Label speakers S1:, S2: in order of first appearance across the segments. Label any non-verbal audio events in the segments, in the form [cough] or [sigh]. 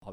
S1: Har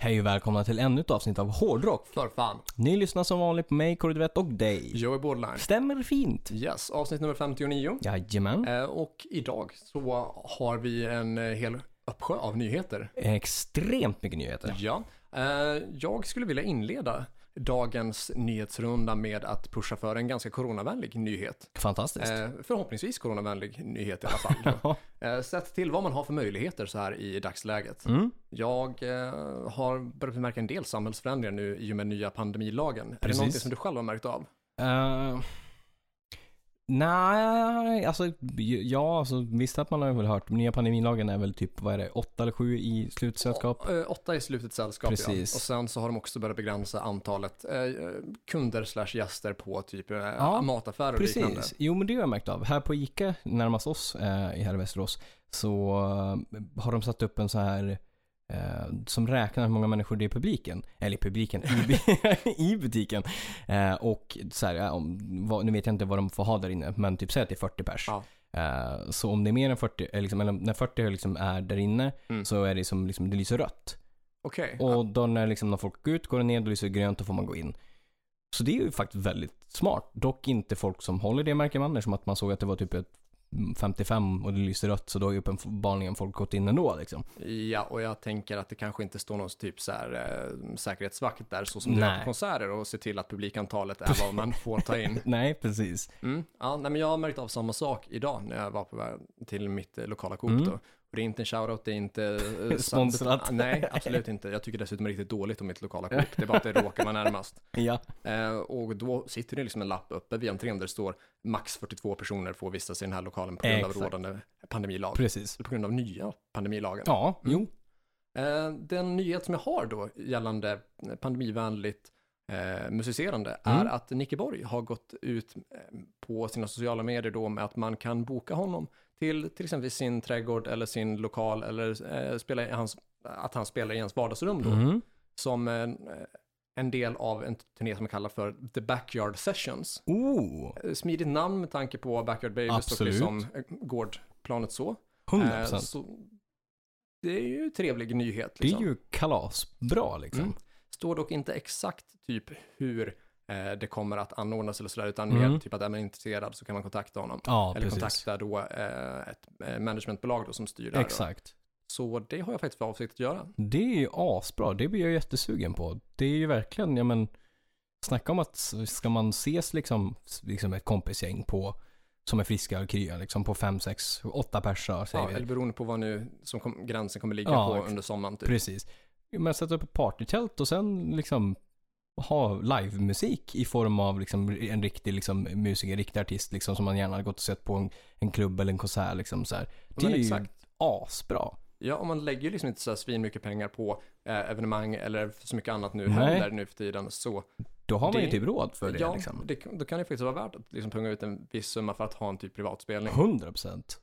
S2: Hej och välkomna till ännu ett avsnitt av Hårdrock.
S1: För fan.
S2: Ni lyssnar som vanligt på mig, Kåre Duvett och dig.
S1: Joey Borderline.
S2: Stämmer fint.
S1: Yes, avsnitt nummer 59.
S2: Jajamän.
S1: Eh, och idag så har vi en eh, hel uppsjö av nyheter.
S2: Extremt mycket nyheter.
S1: Ja. Eh, jag skulle vilja inleda dagens nyhetsrunda med att pusha för en ganska coronavänlig nyhet.
S2: Fantastiskt.
S1: Eh, förhoppningsvis coronavänlig nyhet i alla
S2: [laughs]
S1: fall.
S2: Ja.
S1: Eh, Sett till vad man har för möjligheter så här i dagsläget.
S2: Mm.
S1: Jag eh, har börjat märka en del samhällsförändringar nu i och med nya pandemilagen. Är det
S2: Precis.
S1: någonting som du själv har märkt av?
S2: Eh, nej, alltså ja, alltså, visst att man har väl hört. Nya pandemilagen är väl typ, vad är det, åtta eller sju i slutsällskap?
S1: Å- eh, Åtta i slutet sällskap, ja. Och
S2: Precis.
S1: sen så har de också börjat begränsa antalet eh, kunder slash gäster på typ eh,
S2: Ja,
S1: mataffärer och liknande.
S2: Precis. Jo, men det har jag märkt av. Här på ICA närmast oss eh, här i Västerås så eh, har de satt upp en så här eh, som räknar hur många människor det är i publiken. Eller i publiken, i, bu- [laughs] i butiken. Eh, och så här, ja, om, vad, nu vet jag inte vad de får ha där inne, men typ säg att det är 40 pers.
S1: Ja.
S2: Eh, så om det är mer än 40, eller liksom, eller när 40 liksom är där inne
S1: Mm.
S2: så är det som liksom, det lyser rött.
S1: Okej.
S2: Och då när, liksom, när folk går ut går det ner, då lyser det grönt, då får man gå in. Så det är ju faktiskt väldigt smart. Dock inte folk som håller det märker man, eftersom att man såg att det var typ ett 55 och det lyser rött, så då har ju uppenbarligen folk gått in ändå liksom.
S1: Ja, och jag tänker att det kanske inte står någon typ så här, eh, säkerhetsvakt där så som det gör
S2: Nej.
S1: på konserter och se till att publikantalet
S2: [laughs]
S1: är vad man får ta in.
S2: Nej, precis.
S1: Mm. Ja, nej, men jag har märkt av samma sak idag när jag var på väg till mitt eh, lokala Coop.
S2: Mm.
S1: Då. Och det är inte en shoutout, det är inte...
S2: [laughs]
S1: eh, sant-
S2: Sponsrat.
S1: Nej, absolut inte. Jag tycker dessutom riktigt dåligt om mitt lokala
S2: [laughs]
S1: Coop. Det är bara att det råkar vara närmast.
S2: Ja.
S1: Eh, och då sitter det liksom en lapp uppe vid entrén där det står max 42 personer får vistas i den här lokalen på grund av
S2: Exakt.
S1: rådande pandemilag.
S2: Precis.
S1: På grund av nya pandemilagen.
S2: Ja, jo.
S1: Eh, Den nyhet som jag har då gällande pandemivänligt eh, musicerande är
S2: Mm.
S1: att Nicke Borg har gått ut eh, på sina sociala medier då med att man kan boka honom till till exempel sin trädgård eller sin lokal eller eh, spela i hans, att han spelar i ens vardagsrum då
S2: Mm.
S1: som en, eh, en del av en turné som man kallar för The Backyard Sessions.
S2: Oh,
S1: Eh, Smidigt namn med tanke på Backyard Babies och
S2: Absolut.
S1: liksom eh, gårdplanet så. Eh,
S2: 100%.
S1: så. Det är ju en trevlig nyhet.
S2: Det är
S1: Liksom.
S2: ju kalasbra liksom.
S1: Mm. Står dock inte exakt typ hur eh, det kommer att anordnas eller sådär, utan
S2: Mm.
S1: mer typ att är man intresserad så kan man kontakta honom.
S2: Ja,
S1: eller
S2: precis.
S1: kontakta då eh, ett eh, managementbolag då som styr det här. Då.
S2: Exakt.
S1: Så det har jag faktiskt för avsikt att göra.
S2: Det är ju asbra. Det blir jag jättesugen på. Det är ju verkligen, ja men, snacka om att s- ska man ses liksom, s- liksom ett kompisgäng på, som är friska och krya, liksom på fem, sex, åtta personer säger
S1: Ja, typ.
S2: vi.
S1: eller beroende på vad nu som kom, gränsen kommer ligga
S2: Ja,
S1: på
S2: exakt.
S1: under sommaren. Typ.
S2: Precis. Men sätta upp ett partytält och sen liksom ha livemusik i form av liksom en riktig liksom, musiker, riktig artist liksom, som man gärna hade gått och sett på en, en klubb eller en konsert. Liksom, så här. Det
S1: Men
S2: är
S1: exakt.
S2: ju asbra.
S1: Ja, och man lägger ju liksom inte så här svin mycket pengar på eh, evenemang eller så mycket annat nu
S2: Nej.
S1: händer nu för tiden. Så
S2: Då har man
S1: Det-
S2: ju typ råd för det.
S1: ja,
S2: liksom.
S1: det, då kan det faktiskt vara värt att liksom punga ut en viss summa för att ha en typ privatspelning.
S2: 100%.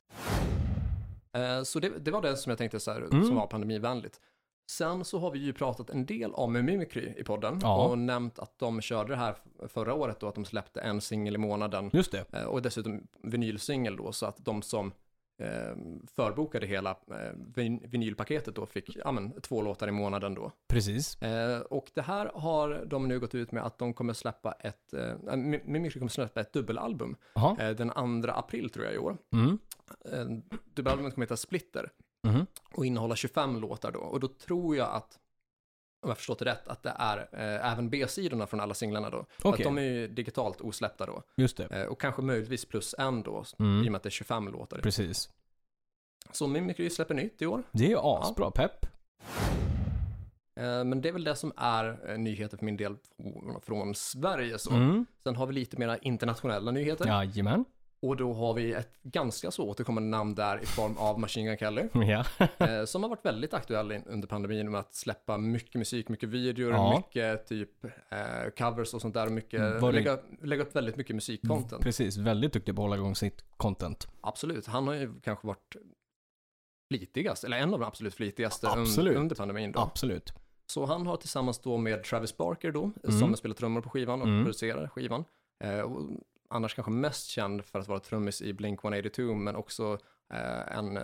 S1: Eh, Så det, det var det som jag tänkte så här, som var pandemivänligt. Sen så har vi ju pratat en del om Mimikry i podden
S2: Ja.
S1: och nämnt att de körde det här f- förra året då, att de släppte en singel i månaden
S2: Just det.
S1: eh, och dessutom vinylsingel då, så att de som eh, förbokade hela eh, vin- vinylpaketet då fick ja, men, två låtar i månaden då.
S2: Precis.
S1: Eh, och det här har de nu gått ut med att de kommer släppa ett, eh, Mi- Mimikry kommer släppa ett dubbelalbum
S2: Jaha.
S1: eh, den 2 april tror jag i år.
S2: Mm.
S1: Eh, dubbelalbumet kommer heta Splitter
S2: Mhm.
S1: och innehålla 25 låtar då. Och då tror jag att, om jag förstått det rätt, att det är eh, även B-sidorna från alla singlarna då. För Att
S2: Okej.
S1: de är ju digitalt osläppta då.
S2: Just det.
S1: Eh, och kanske möjligtvis plus en då, i och
S2: Mm.
S1: med att det är 25 låtar.
S2: Precis.
S1: Så Mimikry släpper nytt i år.
S2: Det är ju asbra pepp.
S1: Eh, men det är väl det som är eh, nyheter för min del från- från Sverige så.
S2: Mm.
S1: Sen har vi lite mera internationella nyheter.
S2: Jajamän. [laughs]
S1: Och då har vi ett ganska så återkommande namn där i form av Machine Gun Kelly.
S2: Ja.
S1: [laughs] Eh, som har varit väldigt aktuell in, under pandemin med att släppa mycket musik, mycket videor,
S2: Ja. Mm,
S1: mycket typ eh, covers och sånt där. och Mycket,
S2: Var det- Mm.
S1: lägga, lägga upp väldigt mycket musikcontent.
S2: Precis, väldigt duktig på att hålla igång sitt content.
S1: Absolut, han har ju kanske varit flitigast, eller en av de absolut flitigaste un-
S2: Absolut.
S1: under pandemin då.
S2: Absolut.
S1: Så han har tillsammans då med Travis Barker då,
S2: Mm.
S1: som spelar trummor på skivan och
S2: Mm.
S1: producerar skivan. Eh, och annars kanske mest känd för att vara trummis i Blink 182, men också eh, en eh,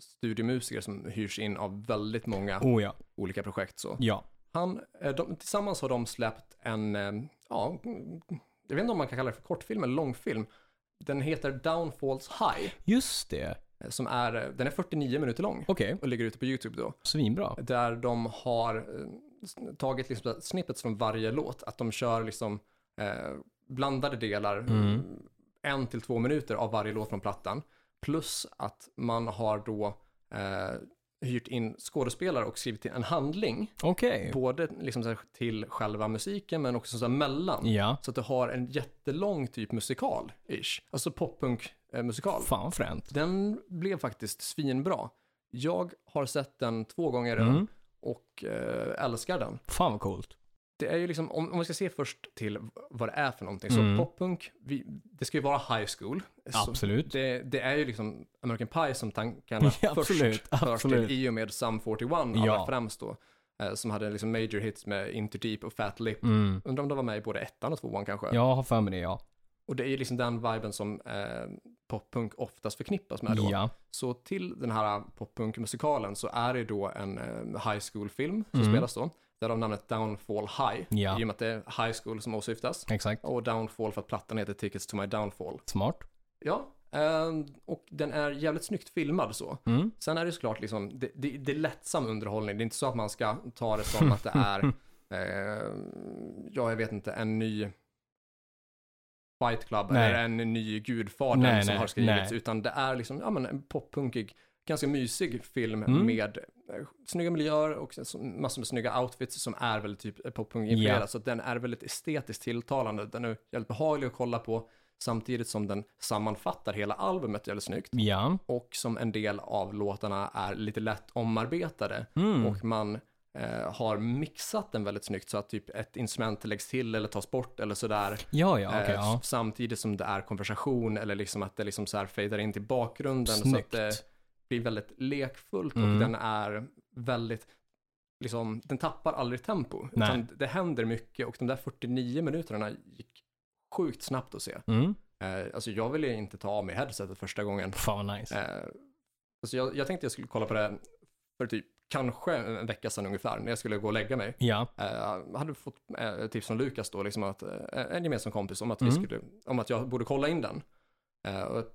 S1: studiomusiker som hyrs in av väldigt många
S2: Oh ja.
S1: olika projekt. Så.
S2: Ja.
S1: Han, eh, de, tillsammans har de släppt en, eh, ja, jag vet inte om man kan kalla det för kortfilm eller långfilm. Den heter Downfalls High,
S2: Just det.
S1: eh, som är, eh, den är 49 minuter lång
S2: Okej.
S1: och ligger ute på YouTube då.
S2: Svinbra.
S1: Där de har eh, s- tagit liksom snippets från varje låt, att de kör liksom eh, blandade delar, eh,
S2: Mm.
S1: en till två minuter av varje låt från plattan. Plus att man har då eh, hyrt in skådespelare och skrivit in en handling
S2: Okej.
S1: både liksom så här till själva musiken men också så här mellan.
S2: Ja.
S1: Så att du har en jättelång typ musikal-ish, alltså poppunk-musikal.
S2: Fan vad fränt.
S1: Den blev faktiskt svinbra. Jag har sett den två gånger redan
S2: Mm.
S1: och eh, älskar den.
S2: Fan vad coolt.
S1: Det är ju liksom, om, om vi ska se först till vad det är för någonting,
S2: Mm.
S1: så poppunk, vi, det ska ju vara high school. Så
S2: Absolut.
S1: det, det är ju liksom American Pie som tankarna
S2: [laughs] Ja, absolut,
S1: först förs
S2: absolut.
S1: till i och med Sum 41 allra
S2: Ja.
S1: främst då. eh, Som hade liksom major hits med Into Deep och Fat Lip.
S2: Mm.
S1: Undrar om de var med i både ettan och tvåan kanske.
S2: Jag har för mig det ja.
S1: Och det är ju liksom den viben som eh, poppunk oftast förknippas med då.
S2: Ja.
S1: Så till den här poppunkmusikalen så är det då en eh, high school-film som
S2: Mm.
S1: spelas då. Där de namnet Downfall High.
S2: Ja.
S1: I och med att det är high school som åsyftas.
S2: Exakt.
S1: Och Downfall för att plattan heter Tickets to my Downfall.
S2: Smart.
S1: Ja, ehm, och den är jävligt snyggt filmad så.
S2: Mm.
S1: Sen är det såklart liksom, det, det, det är lättsam underhållning. Det är inte så att man ska ta det som
S2: [laughs]
S1: att det är, eh, ja jag vet inte, en ny Fight Club
S2: Nej.
S1: eller en ny Gudfadern
S2: Nej,
S1: som
S2: nej,
S1: har skrivits.
S2: nej.
S1: Utan det är liksom, ja men en poppunkig, ganska mysig film
S2: Mm.
S1: med eh, snygga miljöer och så- massor med snygga outfits som är väldigt typ poppunk-influerad.
S2: Ja.
S1: Så den är väldigt estetiskt tilltalande. Den är jävligt behaglig att kolla på samtidigt som den sammanfattar hela albumet jävligt snyggt
S2: Ja.
S1: och som en del av låtarna är lite lätt omarbetade
S2: Mm.
S1: och man eh, har mixat den väldigt snyggt så att typ ett instrument läggs till eller tas bort eller sådär.
S2: Ja, ja, Ah,
S1: eh,
S2: okej. ja.
S1: s- Samtidigt som det är konversation eller liksom att det liksom så här fejdar in till bakgrunden så att eh,
S2: Snyggt.
S1: det blir väldigt lekfullt
S2: Mm.
S1: och den är väldigt liksom, den tappar aldrig tempo.
S2: Nej.
S1: Utan det händer mycket och de där 49 minuterna gick sjukt snabbt att se.
S2: Mm.
S1: Eh, alltså jag ville inte ta av mig headsetet första gången
S2: Fan vad nice.
S1: Eh, alltså jag, jag tänkte jag skulle kolla på det för typ kanske en vecka sedan ungefär, när jag skulle gå och lägga mig.
S2: Ja. [laughs]
S1: Eh, Jag hade fått eh, tips från Lukas då, liksom att, eh, en gemensam kompis, om att, vi
S2: Mm.
S1: skulle, om att jag borde kolla in den. Eh, och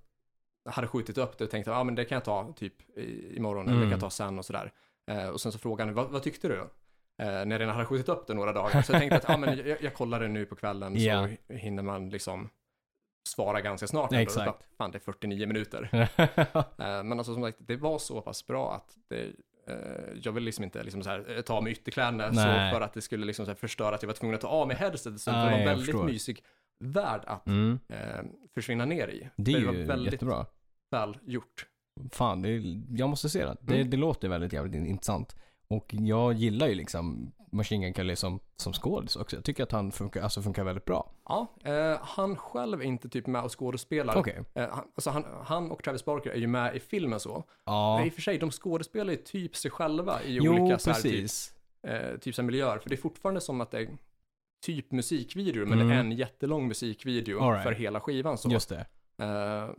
S1: jag hade skjutit upp det och tänkte, ja ah, men det kan jag ta typ i, imorgon, eller det
S2: Mm.
S1: kan jag ta sen och sådär. Eh, och sen så frågade han, vad, vad tyckte du? Eh, när jag redan hade skjutit upp det några dagar. Så jag tänkte att, ja ah, men jag, jag kollar det nu på kvällen,
S2: Ja.
S1: så hinner man liksom svara ganska snart. ändå.
S2: Exakt.
S1: Jag bara, Fan, det är 49 minuter. Eh, Men alltså som sagt, det var så pass bra att det, eh, jag ville liksom inte liksom så här, eh, ta av mig ytterkläderna
S2: Nej.
S1: så för att det skulle liksom så här förstöra att jag var tvungen att ta av mig headsetet. Så det
S2: Ah,
S1: var
S2: ja,
S1: en
S2: jag
S1: väldigt
S2: förstår.
S1: mysig värld att
S2: mm.
S1: eh, försvinna ner i.
S2: Det
S1: För
S2: är
S1: var
S2: ju
S1: väldigt
S2: jättebra.
S1: väl gjort.
S2: Fan, det är, jag måste se det. Det,
S1: Mm.
S2: det låter väldigt jävligt in- intressant. Och jag gillar ju liksom Machine Gun Kelly som, som skådis också. Jag tycker att han funkar, alltså funkar väldigt bra.
S1: Ja, eh, han själv är inte typ med och skådespelar.
S2: Okej.
S1: Eh, han, alltså han, han och Travis Barker är ju med i filmen så.
S2: Ja.
S1: Men i och för sig, de skådespelar ju typ sig själva i
S2: Jo,
S1: olika så här, typ,
S2: precis.
S1: eh, typ så här miljöer. För det är fortfarande som att det är typ musikvideo, men det är en
S2: Mm.
S1: jättelång musikvideo
S2: All right.
S1: för hela skivan. Så.
S2: Just det.
S1: Eh,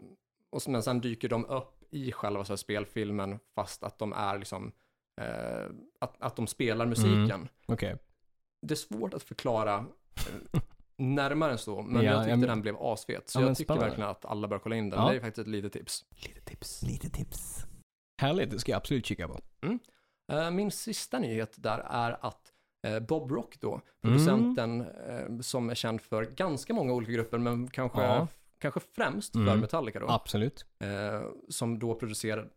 S1: och så, men sen dyker de upp i själva så här spelfilmen, fast att de är liksom, eh, att, att de spelar
S2: Mm.
S1: musiken.
S2: Okej.
S1: Det är svårt att förklara eh, närmare än så, men
S2: Ja,
S1: jag tyckte
S2: ja, men-
S1: den blev asfet. Så
S2: Ja, men
S1: jag tycker
S2: spännande.
S1: verkligen att alla bör kolla in den.
S2: Ja.
S1: Det är faktiskt ett litet tips.
S2: [laughs] Lite tips. Lite tips. Härligt, det ska jag absolut kika på.
S1: Eh, Min sista nyhet där är att eh, Bob Rock
S2: Mm.
S1: då, producenten eh, som är känd för ganska många olika grupper, men kanske,
S2: Ja.
S1: kanske främst för
S2: Mm.
S1: Metallica då,
S2: Absolut.
S1: eh, som då producerade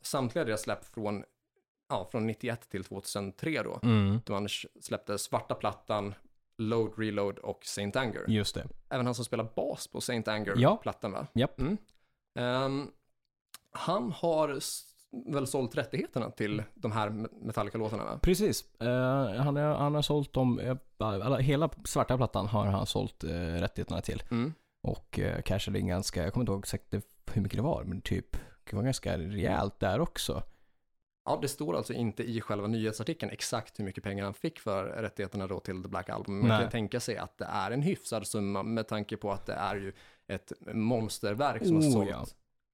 S1: samtliga deras släpp från, ja, från 91 till 2003 då.
S2: Mm.
S1: Då han släppte Svarta Plattan, Load, Reload och Saint Anger.
S2: Just det.
S1: Även han som spelar bas på Saint
S2: Ja.
S1: Anger-plattan va?
S2: Japp.
S1: Mm. Ehm, han har s- väl sålt rättigheterna till de här Me- Metallica-låtarna va?
S2: Precis. Eh, han, har- han har sålt dem, eh, alla, hela svarta plattan har han sålt eh, rättigheterna till.
S1: Mm.
S2: Och eh, cashade in ganska, jag kommer inte ihåg exakt det- hur mycket det var, men typ, det var ganska rejält där också.
S1: Ja, det står alltså inte i själva nyhetsartikeln exakt hur mycket pengar han fick för rättigheterna då till The Black Album. Man
S2: Nej.
S1: kan tänka sig att det är en hyfsad summa med tanke på att det är ju ett monsterverk som har
S2: Oh,
S1: sålt
S2: ja.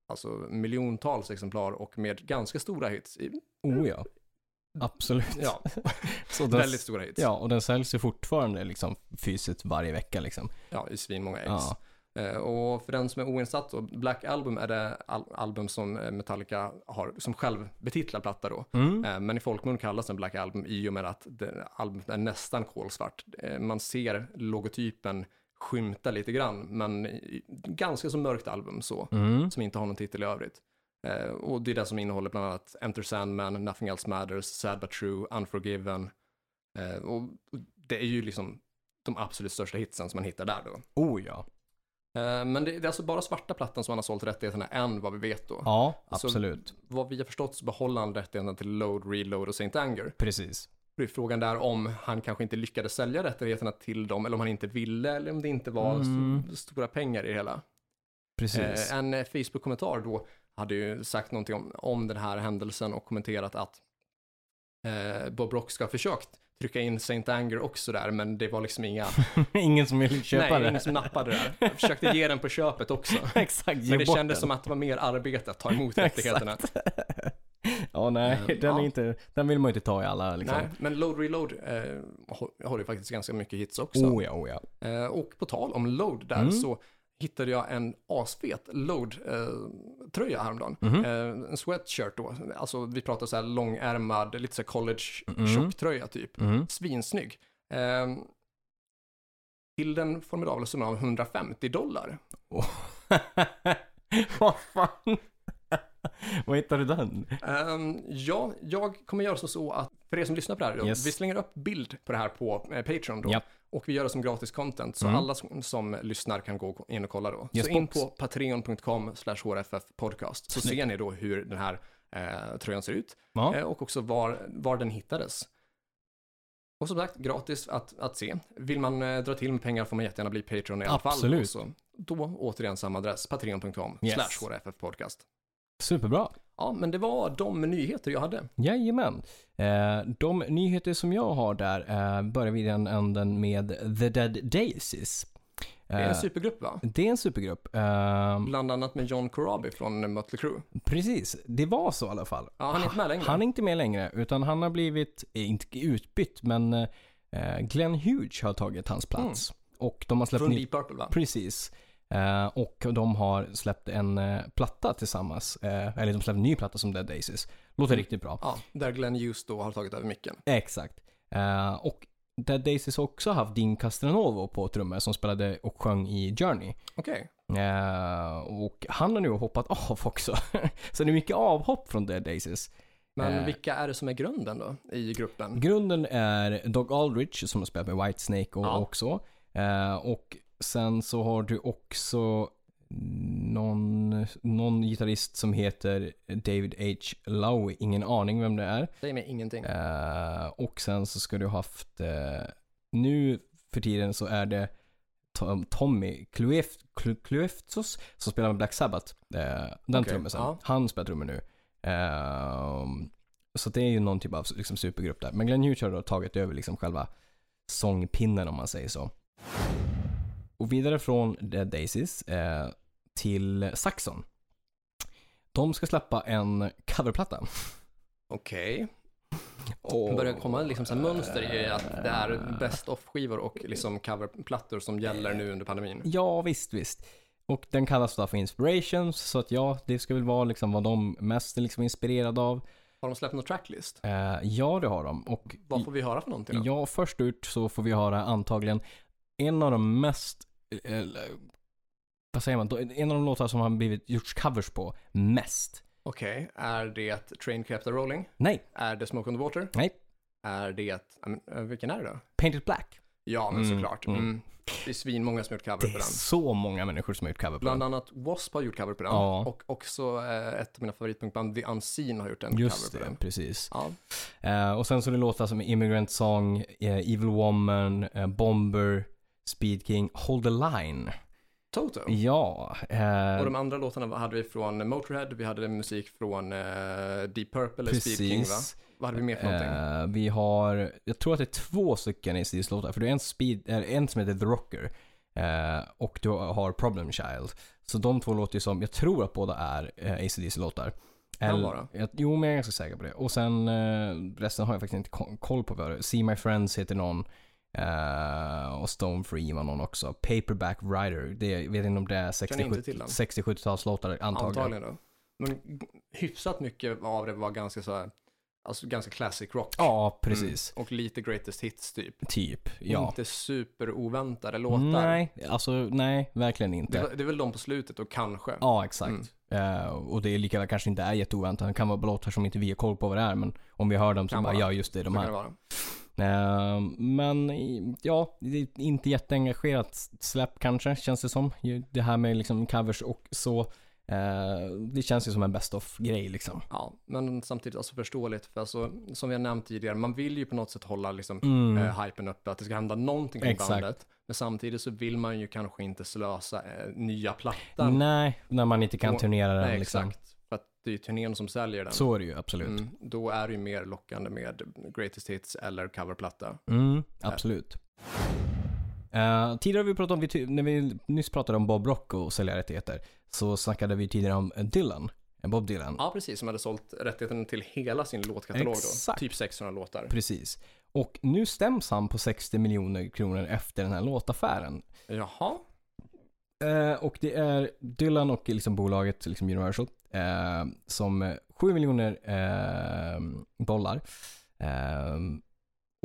S1: alltså, miljontals exemplar och med ganska stora hits. I-
S2: Oh ja. Absolut.
S1: Ja,
S2: [laughs] Så den,
S1: väldigt stora hits.
S2: Ja, och den säljs ju fortfarande liksom fysiskt varje vecka liksom.
S1: Ja, i svinmånga ex.
S2: Ja.
S1: Eh, Och för den som är oinsatt då, Black Album är det al- album som eh, Metallica har som självbetitlad platta då.
S2: Mm.
S1: Eh, Men i folkmun kallas den Black Album i och med att det- albumet är nästan kolsvart. Eh, Man ser logotypen skymta lite grann, men i- ganska så mörkt album så,
S2: Mm.
S1: som inte har någon titel i övrigt. Eh, Och det är det som innehåller bland annat Enter Sandman, Nothing Else Matters, Sad But True, Unforgiven. Eh, Och och det är ju liksom de absolut största hitsen som man hittar där då.
S2: Oh ja.
S1: Eh, Men det det är alltså bara svarta plattan som han har sålt rättigheterna än vad vi vet då.
S2: Ja,
S1: Så-
S2: absolut.
S1: Vad vi har förstått så behåller han rättigheterna till Load, Reload och Saint Anger.
S2: Precis.
S1: Då är frågan där om han kanske inte lyckades sälja rättigheterna till dem eller om han inte ville eller om det inte var
S2: Mm.
S1: st- stora pengar i det hela.
S2: Precis.
S1: Eh, en eh, Facebook-kommentar då hade ju sagt någonting om, om den här händelsen och kommenterat att eh, Bob Rock ska ha försökt trycka in Saint Anger också där men det var liksom inga,
S2: ingen som vill [laughs] köpa
S1: nej,
S2: det.
S1: ingen som nappade där. Jag försökte ge den på köpet också.
S2: [laughs] Exakt, [laughs] ge
S1: Men det kändes
S2: bort den. liksom.
S1: som att det var mer arbete att ta
S2: [laughs]
S1: emot rättigheterna.
S2: Ja, nej,
S1: Eh,
S2: den,
S1: ja.
S2: Är inte, den vill man ju inte ta i alla liksom.
S1: Nej, men Load Reload eh, har- har ju faktiskt ganska mycket hits också.
S2: Oh ja, oh ja.
S1: Eh, och på tal om load där
S2: Mm.
S1: så hittade jag en asfet load-tröja häromdagen.
S2: Mhm.
S1: Eh, en sweatshirt då, alltså vi pratar så här långärmad, lite så här college
S2: Mm.
S1: tjocktröja typ.
S2: Mm.
S1: Svinsnygg. Eh, till den formidabla summan av 150 dollar.
S2: [laughs] Vad fan? [laughs] Vad hittade du den?
S1: Ehm, ja, jag kommer göra så, så att för er som lyssnar på det här, då,
S2: Yes.
S1: vi slänger upp bild på det här på eh, Patreon då.
S2: Ja. Mm.
S1: Och vi gör det som gratis content, så alla som, som lyssnar kan gå in och kolla då.
S2: Yes,
S1: så in
S2: box.
S1: på patreon.com slash podcast så
S2: Snyggt.
S1: ser ni då hur den här eh, tröjan ser ut
S2: Ja.
S1: eh, och också var, var den hittades. Och som sagt, gratis att, att se. Vill man eh, dra till med pengar får man jättegärna bli Patreon i alla fall.
S2: Absolut.
S1: Också. Då återigen samma adress, patreon.com
S2: Yes.
S1: slash podcast
S2: Superbra.
S1: Ja, men det var de nyheter jag hade.
S2: Jajamän. Eh, de nyheter som jag har där eh, börjar vi i den änden med The Dead Daisies.
S1: Det är en
S2: Eh,
S1: supergrupp va?
S2: det är en supergrupp. Eh,
S1: Bland annat med John Corabi från Mötley Crüe.
S2: precis, det var så i alla fall.
S1: Ja, han är inte med längre.
S2: Han är inte med längre, utan han har blivit, eh, inte utbytt, men eh, Glenn Hughes har tagit hans plats. Och de har släppt
S1: Mm. från
S2: ny...
S1: Deep Purple va?
S2: Precis. Eh, och de har släppt en eh, platta tillsammans. Eh, eller de släppte en ny platta som Dead Daisies. Låter riktigt bra.
S1: Mm. Ja, där Glenn Hughes då har tagit över micken.
S2: Exakt. Eh, och Dead Daisies har också haft Dean Castranovo på trummor som spelade och sjöng i Journey.
S1: Okej.
S2: Eh, och han har nu hoppat av också. [laughs] Så det är mycket avhopp från Dead Daisies.
S1: Men
S2: Eh.
S1: vilka är det som är grunden då i gruppen?
S2: Grunden är Doug Aldrich som har spelat med Whitesnake och,
S1: Ja.
S2: och så. Eh, och sen så har du också någon, någon gitarrist som heter David H. Lowe. Ingen aning vem det är.
S1: Säg mig ingenting.
S2: Eh, och sen så ska du ha haft, eh, nu för tiden så är det Tom, Tommy Klueft, Klu, Klueftsos som spelar med Black Sabbath. Eh, den
S1: Okej,
S2: trummisen.
S1: ja.
S2: Han spelar trummor nu. Ehm, så det är ju någon typ av liksom, supergrupp där. Men Glenn Hughes har då tagit över liksom, själva sångpinnen om man säger så. Och vidare från The Daisies eh, till Saxon. De ska släppa en coverplatta. [laughs]
S1: Okej.
S2: Och-
S1: Det börjar komma liksom så här mönster i att det är
S2: Eh,
S1: best of-skivor och liksom coverplattor som gäller nu under pandemin.
S2: Ja, visst, visst. Och den kallas då för Inspirations, så att ja, det ska väl vara liksom vad de mest är liksom inspirerade av.
S1: Har de släppt någon tracklist?
S2: Eh, ja, det har de. Och
S1: Vad får vi höra för någonting då?
S2: ja, först ut så får vi höra antagligen en av de mest, eh, vad säger man, en av de låtar som har blivit gjorts covers på mest.
S1: Okej, är det Train Kept a Rolling?
S2: Nej,
S1: Är det Smoke on the Water?
S2: nej,
S1: Är det, ja, men, eh, vilken är det då?
S2: Painted Black.
S1: Ja, men
S2: Mm,
S1: såklart.
S2: mm.
S1: Mm. Det är svinmånga som gjort cover
S2: Det
S1: på
S2: är
S1: den.
S2: så många människor som har gjort cover på
S1: Bland
S2: den.
S1: annat W.A.S.P. har gjort cover på den.
S2: Ja.
S1: Och också eh, ett av mina favoritpunkband, The Unseen, har gjort en
S2: Just
S1: cover på
S2: det,
S1: den.
S2: precis.
S1: Ja,
S2: Eh, och sen så det låtar som Immigrant Song, eh, Evil Woman, eh, Bomber, Speed King, Hold the Line.
S1: Toto.
S2: Ja. eh,
S1: Och de andra låtarna var- hade vi från Motörhead, vi hade musik från eh, Deep Purple eller Speed King va?
S2: precis.
S1: Vad hade vi mer för någonting?
S2: Eh, vi har, jag tror att det är två stycken ACDC-låtar. För det är en, speed, eller en som heter The Rocker eh, och du har Problem Child. Så de två låter ju som, jag tror att båda är eh, ACDC-låtar.
S1: Kan
S2: Eller-
S1: vara.
S2: jag- Jo, men jag är ganska säker på det. Och sen eh, resten har jag faktiskt inte ko- koll på. Vad det. är. See My Friends heter någon. Eh, och Stone Free var någon också. Paperback Rider. Det, jag vet inte om det är
S1: Känner inte till
S2: 60-70-
S1: den.
S2: 60-70-talslåtar antagligen.
S1: Antagligen då. Men g- hyfsat mycket av det var ganska så här, alltså ganska classic rock.
S2: Ja, precis.
S1: Mm. Och lite greatest hits typ.
S2: Typ, ja.
S1: Inte superoväntade låtar.
S2: Nej, alltså nej, verkligen inte.
S1: Det, var- Mm. det är väl de på slutet och kanske.
S2: Ja, exakt. Eh, och det är lika väl kanske inte är jätteoväntat. Det kan vara låtar som inte vi har koll på vad det är, men om vi hör dem så
S1: Kan
S2: bara,
S1: vara.
S2: ja just det, de
S1: så kan det
S2: här.
S1: vara.
S2: Eh, men i- ja, det är inte jätteengagerat släpp kanske, känns det som. Ju- Det här med liksom covers och så. eh, det känns ju som en best of-grej liksom.
S1: Ja, men samtidigt alltså förståeligt. För alltså, som vi har nämnt tidigare, man vill ju på något sätt hålla liksom,
S2: Mm.
S1: eh, hypen uppe, att det ska hända någonting kring
S2: Exakt.
S1: bandet. Men samtidigt så vill man ju kanske inte slösa eh, nya plattan.
S2: Nej, när man inte kan
S1: Och-
S2: turnera den
S1: Nej,
S2: liksom.
S1: exakt. För att det är ju turnén som säljer den.
S2: Så är det ju absolut. Mm,
S1: Mm, då är det ju mer lockande med greatest hits eller coverplatta.
S2: Mm, absolut. Eh, tidigare har vi pratat om, vi ty- när vi nyss pratade om Bob Rock och sälja rättigheter, så snackade vi tidigare om Dylan, eh, Bob Dylan.
S1: Ja, precis, som hade sålt rättigheten till hela sin låtkatalog
S2: Exakt.
S1: då. Typ 600 låtar.
S2: Precis. Och nu stäms han på 60 miljoner kronor efter den här låtaffären.
S1: Jaha,
S2: Eh, och det är Dylan och liksom bolaget liksom Universal eh, som eh, 7 miljoner eh, dollar. Eh,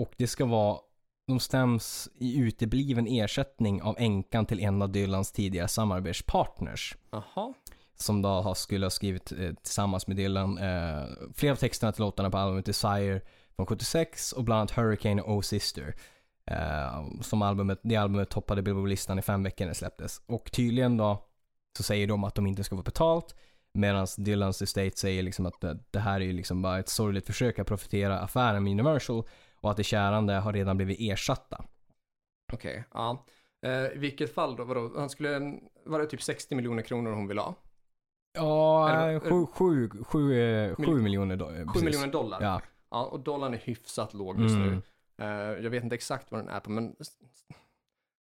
S2: och det ska vara, de stäms i utebliven ersättning av änkan till en av Dylans tidigare samarbetspartners.
S1: jaha.
S2: Som då har, skulle ha skrivit eh, tillsammans med Dylan. Eh, flera av texterna till låtarna på albumet Desire från 76 och bland annat Hurricane och Oh Sister. Eh, som albumet, det albumet toppade Billboard-listan i fem veckor när det släpptes. Och tydligen då så säger de att de inte ska få betalt. Medan Dylans Estate säger liksom att det, det här är ju liksom bara ett sorgligt försök att profitera affären med Universal och att det kärande har redan blivit ersatta.
S1: Okej, ja. Eh, I vilket fall då, vadå? Han skulle, var det typ 60 miljoner kronor hon ville ha? Eller-
S2: Ja, 7 sju, sju, eh, sju
S1: Mil-
S2: miljoner då. eh,
S1: 7
S2: precis.
S1: miljoner dollar?
S2: Ja.
S1: Ja, och dollarn är hyfsat låg just
S2: Mm.
S1: nu. Eh, jag vet inte exakt vad den är på, men s- s-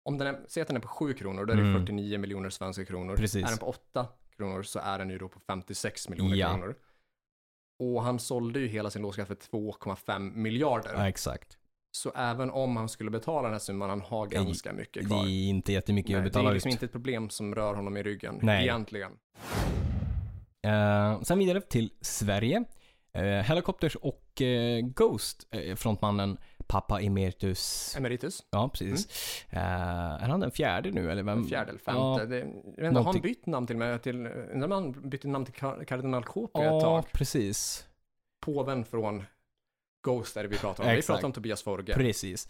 S1: om den är, säg att den är på 7 kronor, då är det
S2: Mm.
S1: 49 miljoner svenska kronor.
S2: Precis.
S1: Är den på 8 kronor så är den ju då på 56 miljoner
S2: Ja.
S1: kronor. Och han sålde ju hela sin låtskatt för 2,5 miljarder.
S2: Ja, exakt.
S1: Så även om han skulle betala den här summan, han har ganska mycket
S2: Det
S1: kvar.
S2: är inte jättemycket
S1: Nej,
S2: att
S1: det
S2: betala
S1: är
S2: ut.
S1: liksom inte ett problem som rör honom i ryggen
S2: Nej.
S1: egentligen.
S2: Eh, sen vidare till Sverige. Eh, Helicopters och eh, Ghost, eh, frontmannen pappa emeritus.
S1: Emeritus,
S2: Ja, precis. Eh, är han den fjärde nu eller vem?
S1: Mm. fjärde eller
S2: Mm. Ja.
S1: femte. Det, jag vet inte, har han
S2: Någonting-
S1: bytt namn till med? Till, undrar om han bytte namn till kar- kardinal Kåpe ett
S2: Ja,
S1: tag?
S2: precis.
S1: Påven från Ghost är det vi pratar om. vi
S2: Exakt.
S1: pratar om Tobias Forge.
S2: Precis.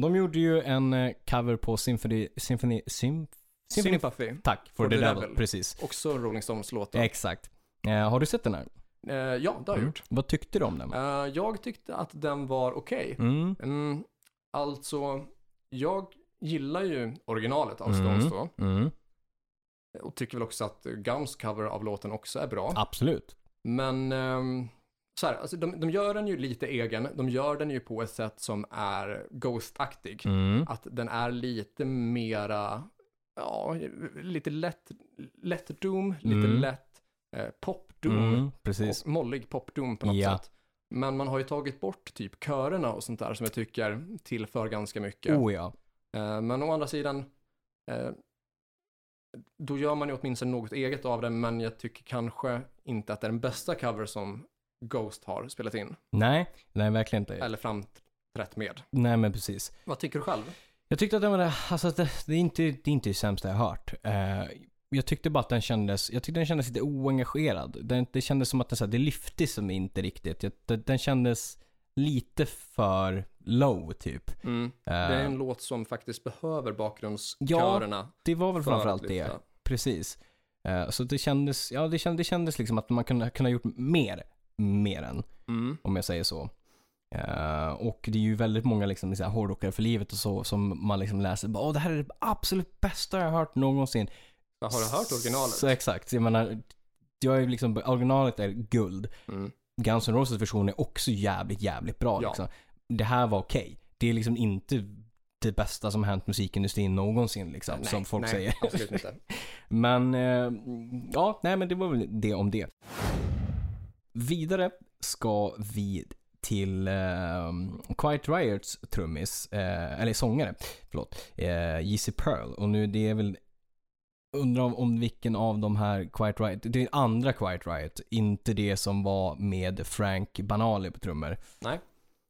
S2: De gjorde ju en eh, cover på Symphony... Symphony... Sym, Symphony...
S1: Sympathy.
S2: Tack, For, the, devil. Precis.
S1: Också en Rolling Stones-låt. då.
S2: Exakt. Eh, har du sett den här?
S1: Eh, ja, det har jag gjort.
S2: Vad tyckte du om den?
S1: Eh, jag tyckte att den var okej.
S2: Mm.
S1: Mm, alltså, jag gillar ju originalet av
S2: Mm.
S1: Stones då.
S2: Mm.
S1: Och tycker väl också att Gums cover av låten också är bra.
S2: Absolut.
S1: Men ehm, så här, alltså de, de gör den ju lite egen. De gör den ju på ett sätt som är Ghost-aktig.
S2: Mm.
S1: Att den är lite mera, ja, lite lätt, lätt doom, lite
S2: Mm.
S1: lätt eh, pop-doom.
S2: Mm. Precis.
S1: Och mollig pop-doom på något
S2: Ja.
S1: sätt. Men man har ju tagit bort typ körerna och sånt där som jag tycker tillför ganska mycket.
S2: Oh ja.
S1: Eh, Men å andra sidan, eh, då gör man ju åtminstone något eget av det, men jag tycker kanske inte att det är den bästa cover som Ghost har spelat in,
S2: Nej, nej verkligen inte.
S1: eller framträtt med.
S2: Nej men precis.
S1: Vad tycker du själv?
S2: Jag tyckte att den var det, alltså att det, det, är inte, det är inte det sämsta jag har hört. Eh, jag tyckte bara att den kändes, jag tyckte den kändes lite oengagerad. Den, det kändes som att den, så här, det lyfte som inte riktigt. Jag, den, den kändes lite för low typ.
S1: Mm. Det är
S2: Eh,
S1: en låt som faktiskt behöver bakgrundskörerna.
S2: Det var väl
S1: för att
S2: framförallt det.
S1: lyfta.
S2: Precis. Eh, Så det kändes, ja det kändes, det kändes liksom att man kunde, kunde ha gjort mer, mer än,
S1: Mm.
S2: om jag säger så. Eh, och det är ju väldigt många liksom, så här, hårdrockare för livet och så som man liksom läser bara, Åh, det här är det absolut bästa jag har hört någonsin.
S1: Ja, Har du hört originalet?
S2: Så, exakt, jag menar, jag är ju liksom, originalet är guld.
S1: Mm.
S2: Guns N' Roses version är också jävligt, jävligt bra.
S1: Ja.
S2: Liksom. Det här var okej. Det är liksom inte det bästa som hänt musikindustrin någonsin liksom, som folk
S1: nej,
S2: säger.
S1: [laughs] absolut inte.
S2: Men eh, ja, nej men det var väl det om det. Vidare ska vi till eh, Quiet Riots trummis, eh, eller sångare, förlåt, eh, J.C. Pearl. Och nu det är väl, undrar om, om vilken av de här Quiet Riot, det är andra Quiet Riot, inte det som var med Frank Banali på trummor.
S1: Nej.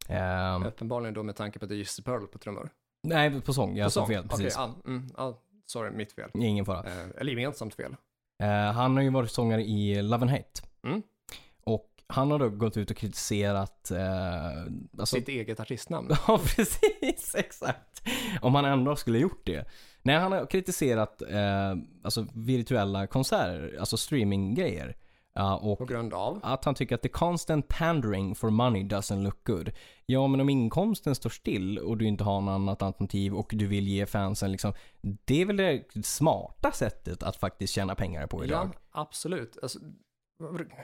S2: Ehm,
S1: Uppenbarligen då med tanke på att det är Jussi Pearl på trummor.
S2: nej, på sång, jag
S1: På
S2: sa
S1: sång.
S2: fel,
S1: Okej,
S2: precis.
S1: ja, mm, ja, sorry, mitt fel.
S2: Ingen fara.
S1: Eh, eller gemensamt fel.
S2: Eh, han har ju varit sångare i Love and Hate.
S1: Mm.
S2: Och han har då gått ut och kritiserat... Eh, alltså,
S1: Sitt eget artistnamn.
S2: [laughs] ja, precis. Exakt. Om han ändå skulle gjort det. Nej, han har kritiserat eh, alltså, virtuella konserter, alltså streaminggrejer. Ja, och
S1: På grund av?
S2: att han tycker att the constant pandering for money doesn't look good. Ja, men om inkomsten står still och du inte har något annat alternativ och du vill ge fansen liksom. Det är väl det smarta sättet att faktiskt tjäna pengar på idag.
S1: Ja, absolut. Alltså,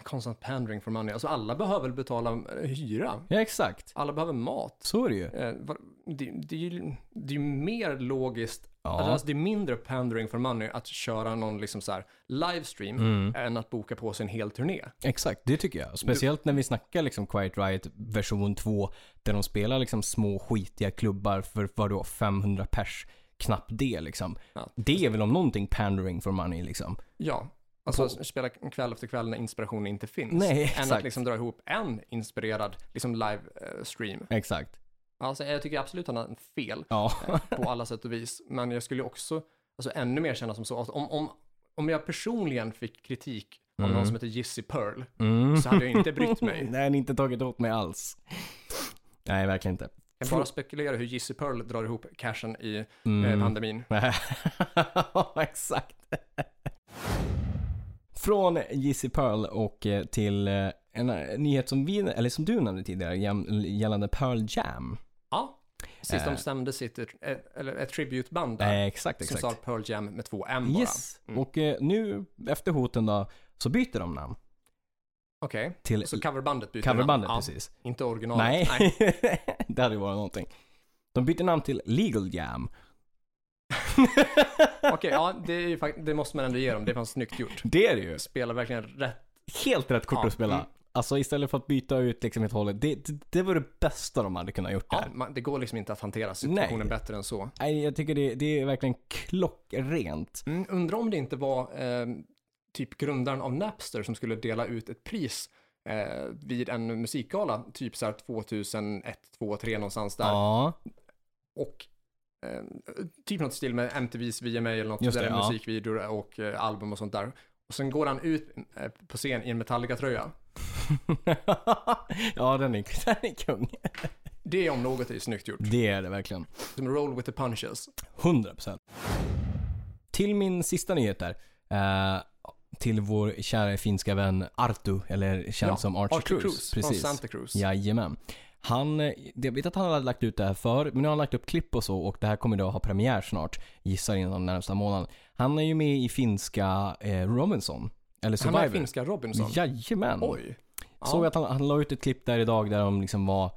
S1: konstant pandering for money. Alltså alla behöver väl betala eh, hyra.
S2: Ja, exakt.
S1: Alla behöver mat.
S2: Så är det ju.
S1: Eh, vad- det, det, är ju, det är ju mer logiskt,
S2: Ja.
S1: alltså det är mindre pandering for money att köra någon liksom så här livestream
S2: Mm.
S1: än att boka på sig en hel turné.
S2: Exakt, det tycker jag. Speciellt när vi snackar liksom Quiet Riot version 2, där de spelar liksom små skitiga klubbar för vadå, 500 pers? Knappt det liksom.
S1: Ja.
S2: Det är väl om någonting pandering for money liksom.
S1: Ja, alltså spela kväll efter kväll när inspiration inte finns.
S2: Nej,
S1: Än att
S2: exakt.
S1: liksom dra ihop en inspirerad liksom live-stream.
S2: Exakt.
S1: Alltså jag tycker absolut att han har fel
S2: Ja. [laughs]
S1: [laughs] på alla sätt och vis. Men jag skulle också, alltså ännu mer känna som så att om, om, om jag personligen fick kritik av någon som heter Jizzy Pearl
S2: Mm.
S1: så hade jag inte brytt mig.
S2: [laughs] Nej, inte tagit åt mig alls. Nej, verkligen inte.
S1: Jag kan bara spekulera hur Jizzy Pearl drar ihop cashen i eh, pandemin.
S2: Mm. [laughs] Ja, Exakt. Från JC Pearl och eh, till eh, en eh, nyhet som, vi, eller som du nämnde tidigare jäm- gällande Pearl Jam.
S1: Ja, sist
S2: Eh.
S1: de stämde sitt, eh, eller ett tributeband
S2: Eh,
S1: där.
S2: exakt,
S1: som
S2: exakt.
S1: sa Pearl Jam med två M bara. Mm.
S2: yes. Och eh, nu efter hoten då så byter de namn
S1: Okej,
S2: till
S1: så coverbandet byter
S2: coverbandet
S1: namn. Ja,
S2: precis.
S1: Inte originalet.
S2: Nej, [laughs] det hade ju varit någonting. De byter namn till Legal Jam.
S1: [laughs] Okej, ja, det, är ju, fakt- det måste man ändå ge dem. Det var snyggt gjort.
S2: Det är det ju.
S1: Spelar verkligen rätt.
S2: Helt rätt kort
S1: Ja,
S2: att spela.
S1: mm.
S2: Alltså istället för att byta ut liksom ett hållet. Det, det, det var det bästa de hade kunnat gjort
S1: Ja,
S2: där.
S1: man, det går liksom inte att hantera situationen
S2: Nej.
S1: bättre än så.
S2: Nej, jag tycker det, det är verkligen klockrent.
S1: Mm, undrar om det inte var eh, typ grundaren av Napster som skulle dela ut ett pris eh, vid en musikgala, typ så här 2001, 2, 3 någonstans där.
S2: Ja, [laughs]
S1: Och eh, typ något stil med MTVs VMA eller något,
S2: Just
S1: där
S2: det,
S1: med
S2: ja.
S1: musikvideor och eh, album och sånt där. Och sen går han ut eh, på scen i en Metallica-tröja.
S2: ja den, är, den är kung.
S1: Det om något är ju snyggt gjort.
S2: Det är det verkligen.
S1: Som roll with the punches.
S2: 100%. Till min sista nyhet där. Eh, till vår kära finska vän Artu, eller känd
S1: Ja,
S2: som Archie, Cruz.
S1: från
S2: Precis.
S1: Santa Cruz.
S2: Jajamän. Han, eh, jag vet att han hade lagt ut det här förr, men nu har han lagt upp klipp och så och det här kommer då ha premiär snart. Gissar inom den närmsta månaden. Han är ju med i finska eh, Robinson. Eller
S1: Han är
S2: Survivor.
S1: finska Robinson.
S2: Jajamän.
S1: Oj. Ja.
S2: Såg att han, han la ut ett klipp där idag där de liksom var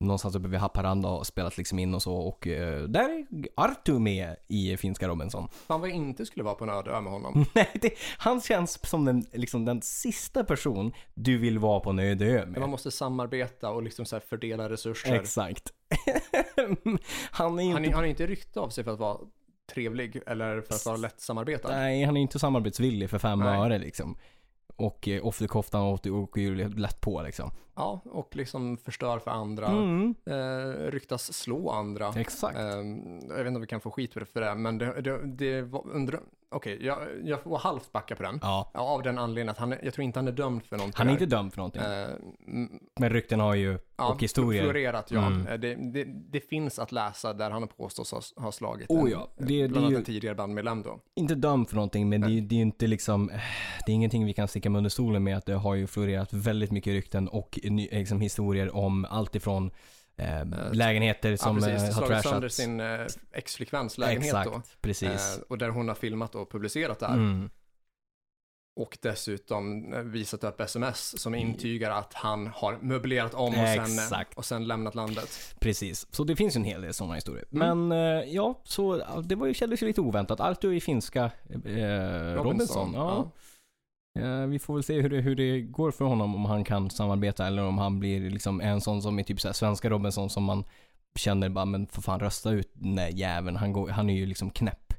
S2: någonstans uppe vid Haparanda och spelat liksom in och så och eh, där är Artu med i finska Robinson.
S1: Fan vad jag inte skulle vara på en öde ö med honom.
S2: [laughs] Nej, det, han känns som den, liksom den sista person du vill vara på en öde ö
S1: Man
S2: med.
S1: måste samarbeta och liksom så här fördela resurser.
S2: Exakt. [laughs] han är inte...
S1: Han är, han är inte rykte av sig för att vara trevlig eller för att vara lätt samarbetad.
S2: Nej, han är inte samarbetsvillig för fem
S1: Nej.
S2: öre liksom. Och eh, off the cuff, han åker ju lätt på liksom.
S1: Ja, och liksom förstör för andra,
S2: Mm,
S1: eh, ryktas slå andra.
S2: exakt.
S1: Eh, jag vet inte om vi kan få skit för det, för det men det, det, det var under... Okej, jag, jag får halvt backa på den.
S2: Ja.
S1: Ja, av den anledningen att han, är- jag tror inte han är dömd för någonting.
S2: Han är
S1: där.
S2: inte dömd för någonting.
S1: Eh, mm,
S2: Men rykten har ju,
S1: ja,
S2: och historier.
S1: Florerat, ja.
S2: Mm.
S1: Eh, Det, det, det finns att läsa där han påstås ha, ha slagit
S2: Oh
S1: en-
S2: ja, det- det
S1: bland
S2: är
S1: annat
S2: ju-
S1: en tidigare bandmedlem då.
S2: Inte dömd för någonting, men det, är ju- det är ju inte liksom, eh, det är ingenting vi kan sticka med under stolen med att det har ju florerat väldigt mycket rykten och ny, liksom, historier om allt ifrån eh, lägenheter som
S1: ja,
S2: eh,
S1: precis.
S2: har
S1: Slagit sönder
S2: trashats.
S1: sin eh, exflickväns lägenhet
S2: Exakt,
S1: då.
S2: precis.
S1: Eh, och där hon har filmat och publicerat det här.
S2: Mm.
S1: Och dessutom eh, visat upp sms som intygar att han har möblerat om och sen, eh,
S2: Exakt.
S1: och sen lämnat landet.
S2: Precis, så det finns ju en hel del sådana historier.
S1: Mm.
S2: Men eh, ja, så ja, det var ju, kändes ju lite oväntat. Arthur i finska eh, Robinson. Ja. Eh, vi får väl se hur det, hur det går för honom, om han kan samarbeta eller om han blir liksom en sån som är typ såhär svenska Robinson som man känner bara, men för fan rösta ut den där jäveln. Han, går, han är ju liksom knäpp.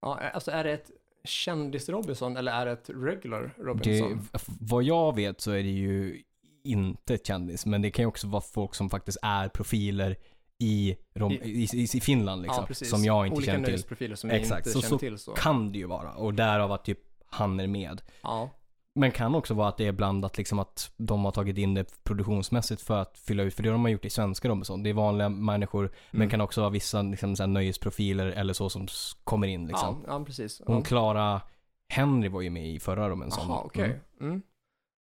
S1: Ja, eh, alltså är det ett kändis-Robinson eller är det ett regular
S2: Det, liksom,
S1: Robinson?
S2: f- vad jag vet så är det ju inte ett kändis, men det kan ju också vara folk som faktiskt är profiler i, Rom, i, i, i Finland liksom, som jag inte
S1: Olika
S2: känner till.
S1: nöjesprofiler som jag
S2: Exakt,
S1: inte
S2: så-
S1: känner
S2: så
S1: till. Så.
S2: kan det ju vara. Och därav att typ han är med.
S1: Ja,
S2: Men kan också vara att det är blandat liksom att de har tagit in det produktionsmässigt för att fylla ut. För det har de har gjort i svenska Robinson. Det är vanliga människor, men
S1: Mm.
S2: kan också vara vissa liksom, så här, nöjesprofiler eller så som s- kommer in liksom.
S1: ja, ja precis.
S2: Hon
S1: Ja.
S2: Clara Henry var ju med i förra Robinson.
S1: Jaha, okej.
S2: Mm.
S1: Mm.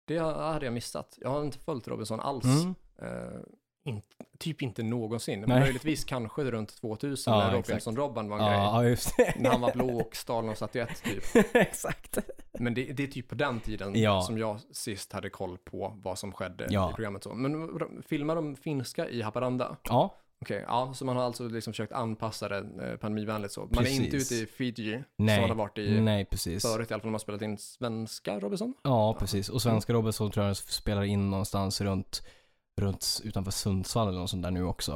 S1: Det hade jag missat. Jag har inte följt Robinson alls.
S2: Mm.
S1: Eh, in, typ inte någonsin.
S2: Nej.
S1: Möjligtvis kanske runt 2000
S2: Ja,
S1: när
S2: exakt.
S1: Robinson-Robban var en grej.
S2: Ja, just det.
S1: [laughs] När han var blå och stal någon statyett typ.
S2: [laughs] Exakt.
S1: Men det, det är typ på den tiden
S2: Ja.
S1: som jag sist hade koll på vad som skedde
S2: Ja.
S1: i programmet. Så. Men r- filmar de finska i Haparanda?
S2: Ja,
S1: Okej, ja, så man har alltså liksom försökt anpassa det eh, pandemivänligt så. Man är inte
S2: Precis.
S1: ute i Fiji
S2: Nej.
S1: som man har varit i
S2: nej precis.
S1: förut i alla fall när man har spelat in svenska Robinson.
S2: Ja, precis. Och svenska Robinson tror jag spelar in någonstans runt, runt utanför Sundsvall eller något sånt där nu också.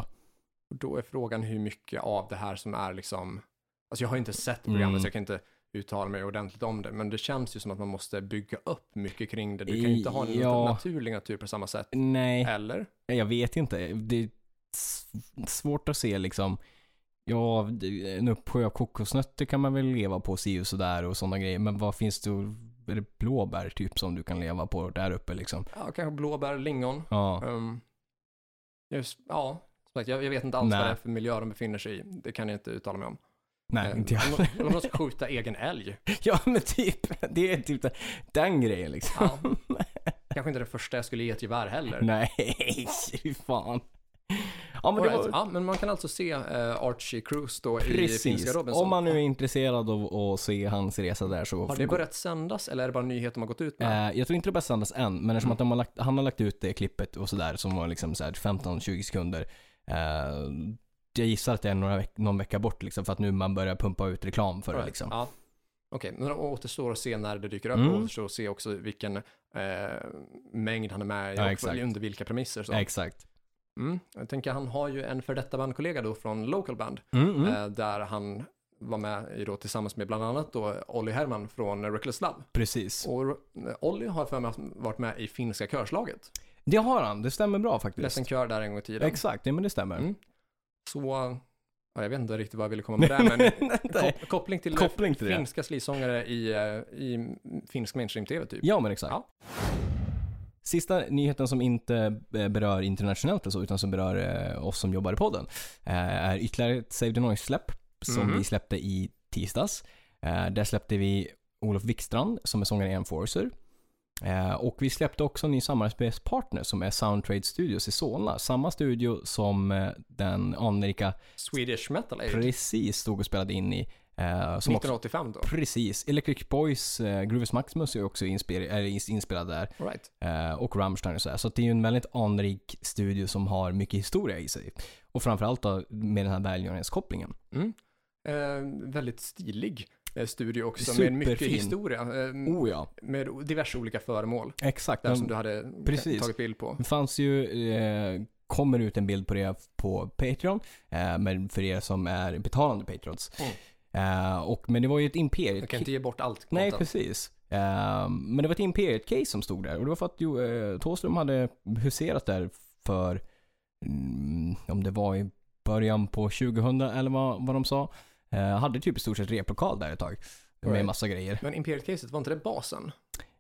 S1: Och då är frågan hur mycket av det här som är liksom, alltså jag har inte sett programmet
S2: Mm.
S1: så jag kan inte uttala mig ordentligt om det, men det känns ju som att man måste bygga upp mycket kring det. Du kan ju inte ha en
S2: Ja.
S1: naturlig natur på samma sätt.
S2: Nej.
S1: Eller?
S2: Jag vet inte. Det är s- svårt att se liksom. Ja, det- en uppsjö av kokosnötter kan man väl leva på si och sådär och sådana grejer. Men vad finns det? Är det blåbär typ som du kan leva på där uppe liksom?
S1: Ja, kanske blåbär, lingon.
S2: Ja,
S1: Ehm, just, ja, som sagt, jag, jag vet inte alls
S2: Nej.
S1: vad det är för miljö de befinner sig i. Det kan jag inte uttala mig om.
S2: nej
S1: Ehm,
S2: inte jag.
S1: om de- om de ska skjuta egen älg.
S2: [laughs] Ja men typ, det är typ den, den grejen liksom.
S1: Ja. Kanske inte det första jag skulle ge ett gevär heller.
S2: Nej, fy fan. Ja men det
S1: Alright,
S2: var,
S1: ja, men man kan alltså se eh, Archie Cruise då i
S2: precis.
S1: Finska Robinson.
S2: Om man nu är intresserad av att se hans resa där så
S1: Har det börjat sändas eller är det bara nyheter man gått ut med?
S2: Eh, jag tror inte det börjar sändas än, men
S1: Mm.
S2: eftersom att de har lagt, han har lagt ut det klippet och sådär som var liksom så här 15-20 sekunder. Eh, jag gissar att det är några veck- någon vecka bort liksom, för att nu man börjar pumpa ut reklam för det.
S1: Alright,
S2: Liksom.
S1: Ja. Okej, men det återstår att se när det dyker upp
S2: Mm.
S1: och återstår att se också vilken eh, mängd han är med i
S2: Ja,
S1: och
S2: exakt.
S1: under vilka premisser. Så.
S2: Exakt.
S1: Mm. Jag tänker han har ju en för detta bandkollega då från Local Band
S2: Mm, mm.
S1: eh, där han var med i då tillsammans med bland annat då Olli Herman från Reckless Love.
S2: Precis.
S1: Och eh, Olli har för mig att varit med i finska körslaget.
S2: Det har han, det stämmer bra faktiskt.
S1: Ledsen kör där en gång i tiden.
S2: Exakt, ja, men det stämmer.
S1: Mm. Så, ja, jag vet inte riktigt vad jag ville komma
S2: [laughs]
S1: med där, men
S2: Nej.
S1: kop- koppling till
S2: Koppling till det.
S1: finska sleazångare i, eh, i finsk mainstream-tv typ.
S2: Ja men exakt.
S1: Ja.
S2: Sista nyheten som inte eh, berör internationellt och så, utan som berör eh, oss som jobbar i podden, eh, är ytterligare ett Save the Noise-släpp som
S1: Mhm.
S2: vi släppte i tisdags. Eh, Där släppte vi Olof Wikstrand som är sångare i Enforcer. Eh, Och vi släppte också en ny samarbetspartner som är Soundtrade Studios i Solna. Samma studio som eh, den anrika
S1: Swedish Metal Aid,
S2: precis stod och spelade in i. eh, Som också,
S1: 1985 då.
S2: precis. Electric Boys, eh, Groovus Maximus är också inspir- är ins- inspelad där.
S1: All Right.
S2: Eh, och Rammstein och sådär. Så att det är ju en väldigt anrik studio som har mycket historia i sig. Och framförallt då med den här välgörenhetskopplingen.
S1: Mm. Eh, väldigt stilig eh, studio också, med mycket
S2: Superfin.
S1: historia. Eh,
S2: Oh ja,
S1: Med diverse olika föremål.
S2: exakt.
S1: Där som
S2: Men
S1: du hade eh,
S2: precis.
S1: tagit bild på.
S2: det fanns ju, eh, kommer ut en bild på det på Patreon. Eh, men för er som är betalande Patrons.
S1: Mm.
S2: Eh, och, men det var ju ett imperium.
S1: Jag kan inte ge bort allt
S2: Nej,
S1: content.
S2: precis. Eh, men det var ett Imperiet-case som stod där och det var för att jo, eh, Thåström hade huserat där för, mm, om det var i början på 2000 eller vad, vad de sa. Eh, hade typ i stort sett replokal där ett tag. Med
S1: Right.
S2: massa grejer.
S1: Men Imperiet-caset, var inte det basen?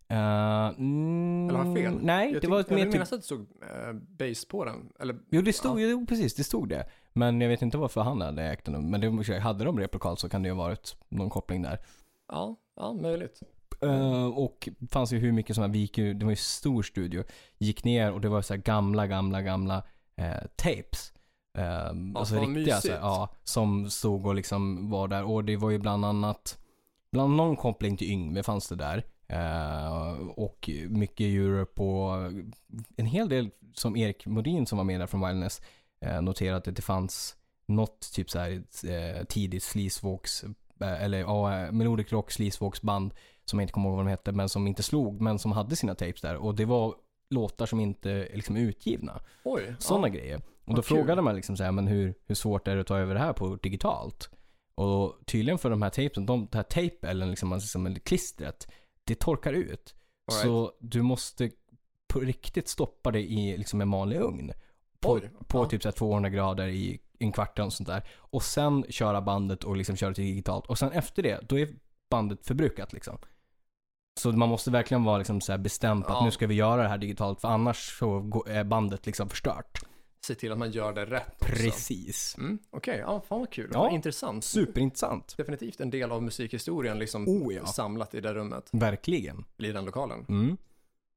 S2: Eh, mm,
S1: Eller har jag fel?
S2: Nej,
S1: jag
S2: det var ett
S1: tyckte-
S2: mer
S1: jag vill
S2: typ
S1: minnas att det stod eh, base på den. Eller,
S2: Jo, det stod, jo, precis, det stod det. Men jag vet inte varför han hade ägt den. Men det, hade de replokal så kan det ju ha varit någon koppling där.
S1: ja, ja, möjligt.
S2: Eh, och fanns ju hur mycket som här, vi gick ju, det var ju stor studio. Gick ner och det var så här gamla, gamla, gamla eh, tapes. Eh, alltså
S1: vad
S2: riktiga så här,
S1: mysigt.
S2: ja, som stod och liksom var där. Och det var ju bland annat, bland någon koppling till Yngve fanns det där. Eh, och mycket Europe och en hel del som Erik Modin som var med där från Wildness eh, noterat att det fanns något typ så här eh, tidigt sleazewalks eh, eller ja, eh, melodic rock sleazewalksband som jag inte kommer ihåg vad de hette men som inte slog men som hade sina tapes där och det var låtar som inte är liksom utgivna.
S1: Oj.
S2: Sådana grejer. Och då
S1: Vad kul.
S2: frågade man liksom så här, men hur, hur svårt är det att ta över det här på digitalt? Och tydligen för de här tejpen, de, det här tejp eller liksom, alltså liksom klistret, det torkar ut.
S1: ja, all right.
S2: Så du måste på riktigt stoppa det i liksom en vanlig ugn. På,
S1: Oj,
S2: på
S1: ja.
S2: typ så här 200 grader i en kvart och sånt där. Och sen köra bandet och liksom köra till digitalt. Och sen efter det, då är bandet förbrukat liksom. Så man måste verkligen vara liksom så här bestämd på att
S1: Ja.
S2: nu ska vi göra det här digitalt för annars så går- är bandet liksom förstört.
S1: Se till att man gör det rätt också.
S2: Precis.
S1: Mm, Okej, ja, fan vad kul.
S2: Ja.
S1: Vad Intressant.
S2: Superintressant.
S1: Definitivt en del av musikhistorien liksom
S2: Oh, ja.
S1: samlat i det rummet,
S2: Verkligen.
S1: i den lokalen.
S2: Mm.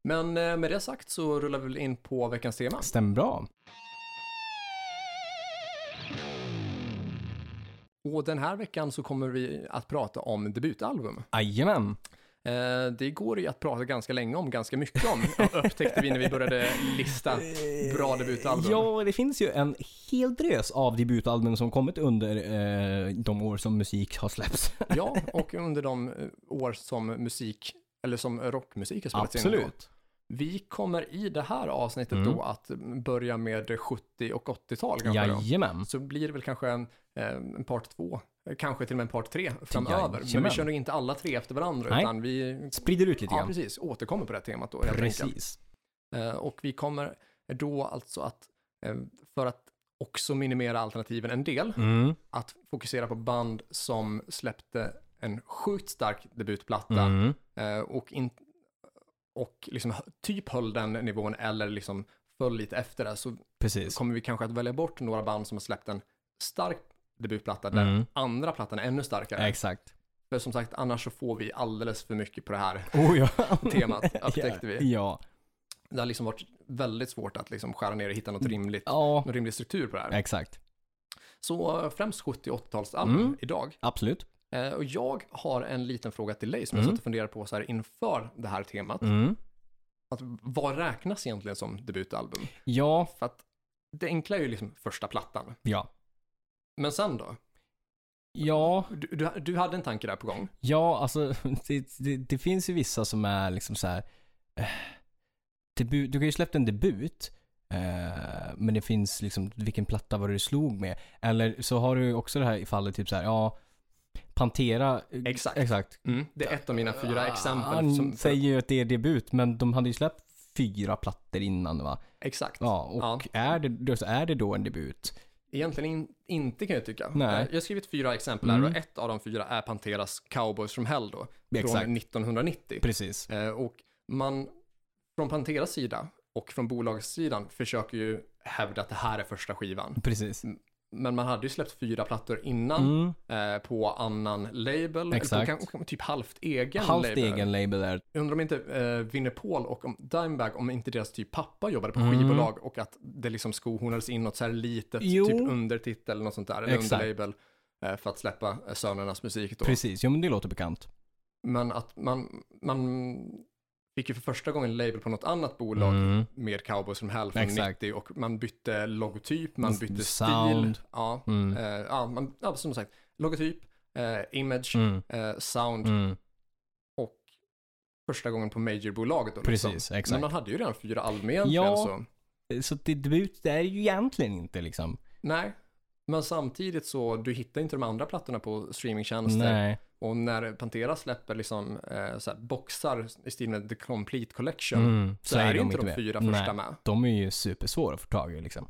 S1: Men eh, med det sagt så rullar vi väl in på veckans tema.
S2: Stämmer bra.
S1: Och den här veckan så kommer vi att prata om debutalbum.
S2: Jajamän.
S1: Eh, det går ju att prata ganska länge om, ganska mycket
S2: [laughs]
S1: om, upptäckte vi när vi började lista bra debutalbum.
S2: Ja, det finns ju en hel drös av debutalbum som kommit under eh, de år som musik har släppts.
S1: Ja, och under de eh, år som musik, eller som rockmusik har spelats in. då. Vi kommer i det här avsnittet
S2: Mm.
S1: då att börja med 70 och 80-tal kanske då.
S2: Jajamän.
S1: Så blir det väl kanske en, eh, en part två, eh, kanske till och med en part tre framöver. Men vi
S2: Jajamän.
S1: kör nog inte alla tre efter varandra,
S2: Nej.
S1: utan vi
S2: Sprider ut lite
S1: ja,
S2: grann.
S1: precis, återkommer på det här temat då helt enkelt.
S2: Precis.
S1: Eh, Och vi kommer då alltså att, eh, för att också minimera alternativen en del,
S2: Mm.
S1: att fokusera på band som släppte en sjukt stark debutplatta
S2: Mm.
S1: eh, och, in, och liksom hö- typ höll den nivån eller liksom föll lite efter det. Så
S2: Precis.
S1: kommer vi kanske att välja bort några band som har släppt en stark debutplatta där
S2: Mm.
S1: andra plattan är ännu starkare.
S2: Exakt.
S1: För som sagt, annars så får vi alldeles för mycket på det
S2: [laughs]
S1: här [laughs]
S2: Oh ja.
S1: temat, upptäckte vi.
S2: Ja.
S1: Det har liksom varit väldigt svårt att liksom skära ner och hitta något rimligt,
S2: Mm. Ja,
S1: någon rimlig struktur på det här.
S2: exakt.
S1: Så eh, främst 70 och 80-talsalbum
S2: Mm.
S1: idag.
S2: Absolut.
S1: Eh, och jag har en liten fråga till dig som jag
S2: Mm.
S1: satt och funderade på så här inför det här temat.
S2: Mm.
S1: Att, vad räknas egentligen som debutalbum?
S2: Ja,
S1: För att det enkla är ju liksom första plattan.
S2: ja.
S1: Men sen då?
S2: Ja,
S1: Du, du, du hade en tanke där på gång.
S2: Ja, alltså [laughs] det, det, det finns ju vissa som är liksom så här. eh, Debut, du kan ju släppt en debut. eh, men det finns liksom, vilken platta var det du slog med? Eller så har du ju också det här i fallet typ så här, ja. Pantera. eh,
S1: Exakt.
S2: Exakt.
S1: Mm. Det är ett av mina fyra exempel.
S2: Ah, Han
S1: Som,
S2: säger ju att det är debut, men de hade ju släppt fyra plattor innan va?
S1: exakt.
S2: Ja, och
S1: Ja.
S2: Är, det, då så är det då en debut?
S1: Egentligen in, inte kan jag tycka.
S2: Nej.
S1: Eh, Jag har skrivit fyra exempel här
S2: Mm.
S1: och ett av de fyra är Panteras Cowboys from Hell då.
S2: Exakt.
S1: Från 1990.
S2: Precis.
S1: Eh, Och man, från Panteras sida och från bolagssidan försöker ju hävda att det här är första skivan.
S2: Precis.
S1: Men man hade ju släppt fyra plattor innan
S2: Mm.
S1: eh, på annan label.
S2: Exakt.
S1: Eller på, kan- typ halvt egen
S2: Halvt
S1: label.
S2: egen label där.
S1: Jag undrar om inte eh, Winner Paul och om Dimebag, om inte deras typ pappa jobbade på
S2: Mm.
S1: skivbolag och att det liksom skohornades in något så här litet,
S2: Jo.
S1: typ undertitel eller något sånt där, eller
S2: Exakt.
S1: underlabel eh, för att släppa eh, sönernas musik då.
S2: Precis, jo men det låter bekant.
S1: Men att man, man fick ju för första gången label på något annat bolag
S2: Mm.
S1: med Cowboys from Hell från
S2: Exakt.
S1: 90 och man bytte logotyp, man
S2: Mm,
S1: bytte
S2: sound.
S1: stil. Ja,
S2: Mm.
S1: eh, ja, man, ja, som sagt, logotyp, eh, image,
S2: Mm.
S1: eh, sound
S2: Mm.
S1: och första gången på majorbolaget. Då, liksom.
S2: Precis,
S1: Men
S2: exakt.
S1: man hade ju redan fyra album egentligen
S2: Ja.
S1: så.
S2: Så det debut det är ju egentligen inte liksom.
S1: Nej, Men samtidigt så, du hittar inte de andra plattorna på streamingtjänster.
S2: Nej.
S1: Och när Pantera släpper liksom eh, så här, boxar i stil med The Complete Collection
S2: Mm.
S1: så, är det
S2: de
S1: inte de
S2: med.
S1: fyra
S2: Nej.
S1: första med.
S2: De är ju supersvåra att få tag i liksom.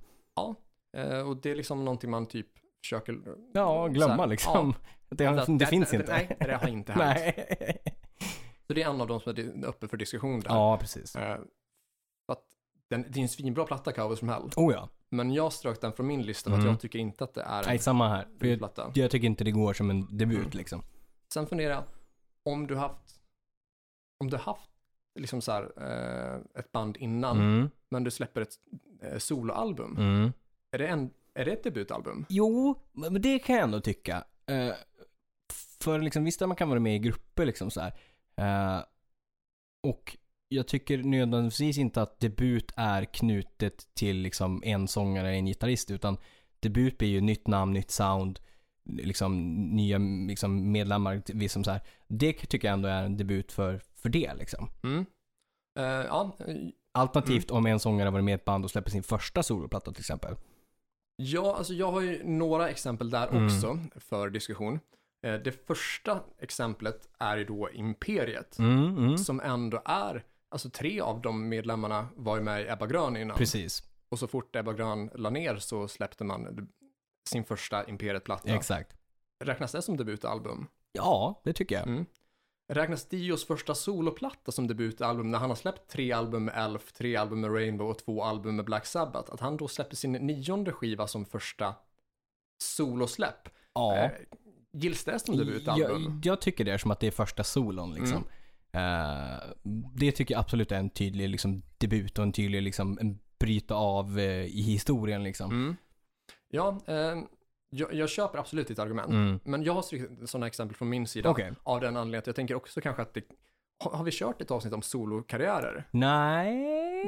S1: Eh, och det är liksom någonting man typ försöker...
S2: Ja, glömma
S1: så här,
S2: liksom. [laughs] Det,
S1: ja,
S2: det, finns inte.
S1: Nej, det har inte hänt.
S2: Nej.
S1: Så det är en av de som är uppe för diskussion där.
S2: [laughs] Ja, precis.
S1: Eh, för att den, det är en svinbra platta, Cowboys from Hell.
S2: Oh ja.
S1: Men jag strök den från min lista för att
S2: Mm.
S1: jag tycker inte att det är en
S2: Nej, samma här. För
S1: fin
S2: jag,
S1: platta.
S2: jag tycker inte det går som en
S1: Mm.
S2: debut liksom.
S1: Sen funderar jag, om du haft, om du haft liksom så här, eh, ett band innan,
S2: Mm.
S1: men du släpper ett eh, soloalbum,
S2: Mm.
S1: är, det en, är det ett debutalbum?
S2: Jo, men det kan jag ändå tycka. Eh, För liksom, visst att man kan vara med i grupper liksom så här. Eh, Och jag tycker nödvändigtvis inte att debut är knutet till liksom en sångare eller en gitarrist utan debut blir ju nytt namn, nytt sound, liksom nya liksom medlemmar. Liksom så här. Det tycker jag ändå är en debut för, för det liksom.
S1: Mm. Eh, ja, eh,
S2: Alternativt om en sångare har varit med i ett band och släpper sin första soloplatta till exempel.
S1: ja, alltså jag har ju några exempel där
S2: Mm.
S1: också för diskussion. Eh, det första exemplet är ju då Imperiet,
S2: Mm, mm.
S1: som ändå är, alltså tre av de medlemmarna var ju med i Ebba Grön innan.
S2: Precis,
S1: Och så fort Ebba Grön la ner så släppte man sin första Imperiet-platta.
S2: exakt.
S1: Räknas det som debutalbum?
S2: Ja, det tycker jag.
S1: Mm. Räknas Dios första soloplatta som debutalbum när han har släppt tre album med Elf, tre album med Rainbow och två album med Black Sabbath? Att han då släpper sin nionde skiva som första solosläpp?
S2: Ja.
S1: Eh, gills det som debutalbum?
S2: Jag, jag tycker det är som att det är första solon liksom. Eh, det tycker jag absolut är en tydlig liksom, debut och en tydlig liksom, en bryta av eh, i historien liksom.
S1: Mm. Ja, eh, jag, jag köper absolut ditt argument.
S2: Mm.
S1: Men jag har strikt- sådana exempel från min sida
S2: Okej.
S1: av den anledningen att jag tänker också kanske att det, har, har vi kört ett avsnitt om solokarriärer?
S2: Nej.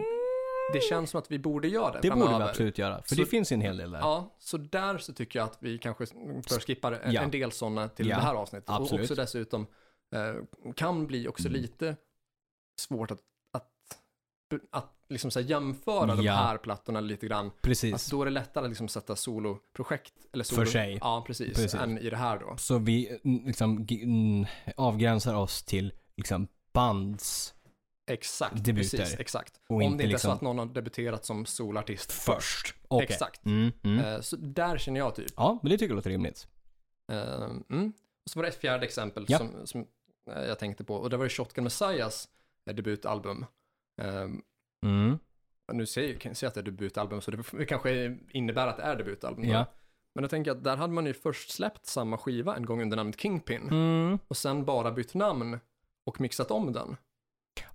S1: Det känns som att vi borde göra det
S2: Det
S1: framöver.
S2: borde vi absolut göra. För
S1: Så-
S2: det finns ju en hel del där.
S1: Ja, så där så tycker jag att vi kanske bör skippa en,
S2: Ja.
S1: en del sådana till
S2: Ja,
S1: det här avsnittet. Och
S2: absolut. Mm.
S1: också dessutom eh, kan bli också lite svårt att, att, att liksom så här jämföra de
S2: Ja.
S1: här plattorna lite grann.
S2: Precis.
S1: Att då är det lättare att liksom sätta soloprojekt. Eller solo,
S2: För sig.
S1: Ja, precis,
S2: Precis.
S1: Än i det här då.
S2: Så vi eh, liksom, g- mm, avgränsar oss till liksom, bands
S1: Exakt,
S2: Debuter.
S1: precis, exakt.
S2: Och
S1: Om det
S2: inte
S1: inte
S2: liksom-
S1: är så att någon har debuterat som solartist.
S2: först. Okej.
S1: Exakt.
S2: Mm, mm.
S1: Eh, Så där känner jag typ.
S2: Ja, men det tycker jag låter rimligt.
S1: Eh, Mm. Och så var det ett fjärde exempel
S2: Ja.
S1: som, som eh, jag tänkte på. Och det var ju Shotgun Messiahs eh, debutalbum. Eh,
S2: Mm.
S1: Nu säger jag kan jag säga att det är debutalbum, så det f- kanske innebär att det är debutalbum. då.
S2: Ja.
S1: Men jag tänker att där hade man ju först släppt samma skiva en gång under namnet Kingpin.
S2: Mm.
S1: Och sen bara bytt namn och mixat om den.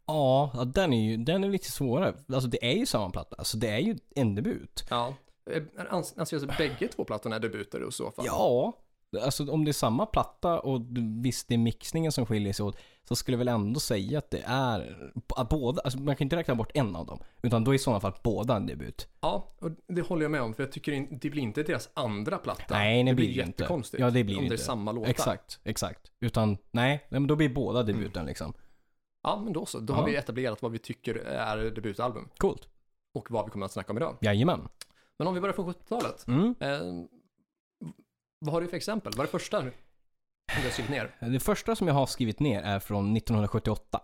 S2: Ja, ja, den är ju den är lite svårare. Alltså det är ju samma platta. Alltså det är ju en debut.
S1: Ja. Eh, ans- Anser jag att bägge två plattorna är debuter i så fall?
S2: Ja, alltså om det är samma platta och du- visst det är mixningen som skiljer sig åt så skulle jag väl ändå säga att det är att båda. Alltså man kan inte räkna bort en av dem. Utan då är i sådana fall båda en debut.
S1: Ja, och det håller jag med om, för jag tycker in- det blir inte deras andra platta.
S2: Nej, det
S1: det
S2: blir det inte.
S1: jättekonstigt.
S2: Ja, det blir
S1: om
S2: det
S1: det är
S2: inte.
S1: samma låtar.
S2: Exakt, exakt. Utan nej, nej men då blir båda debuten liksom.
S1: Ja, men då så. Då
S2: Ja.
S1: har vi etablerat vad vi tycker är debutalbum
S2: Coolt.
S1: och vad vi kommer att snacka om idag.
S2: Jajamän.
S1: Men om vi börjar från 70-talet.
S2: Mm.
S1: Eh, vad har du för exempel? Vad är det första som du har skrivit ner?
S2: Det första som jag har skrivit ner är från 1978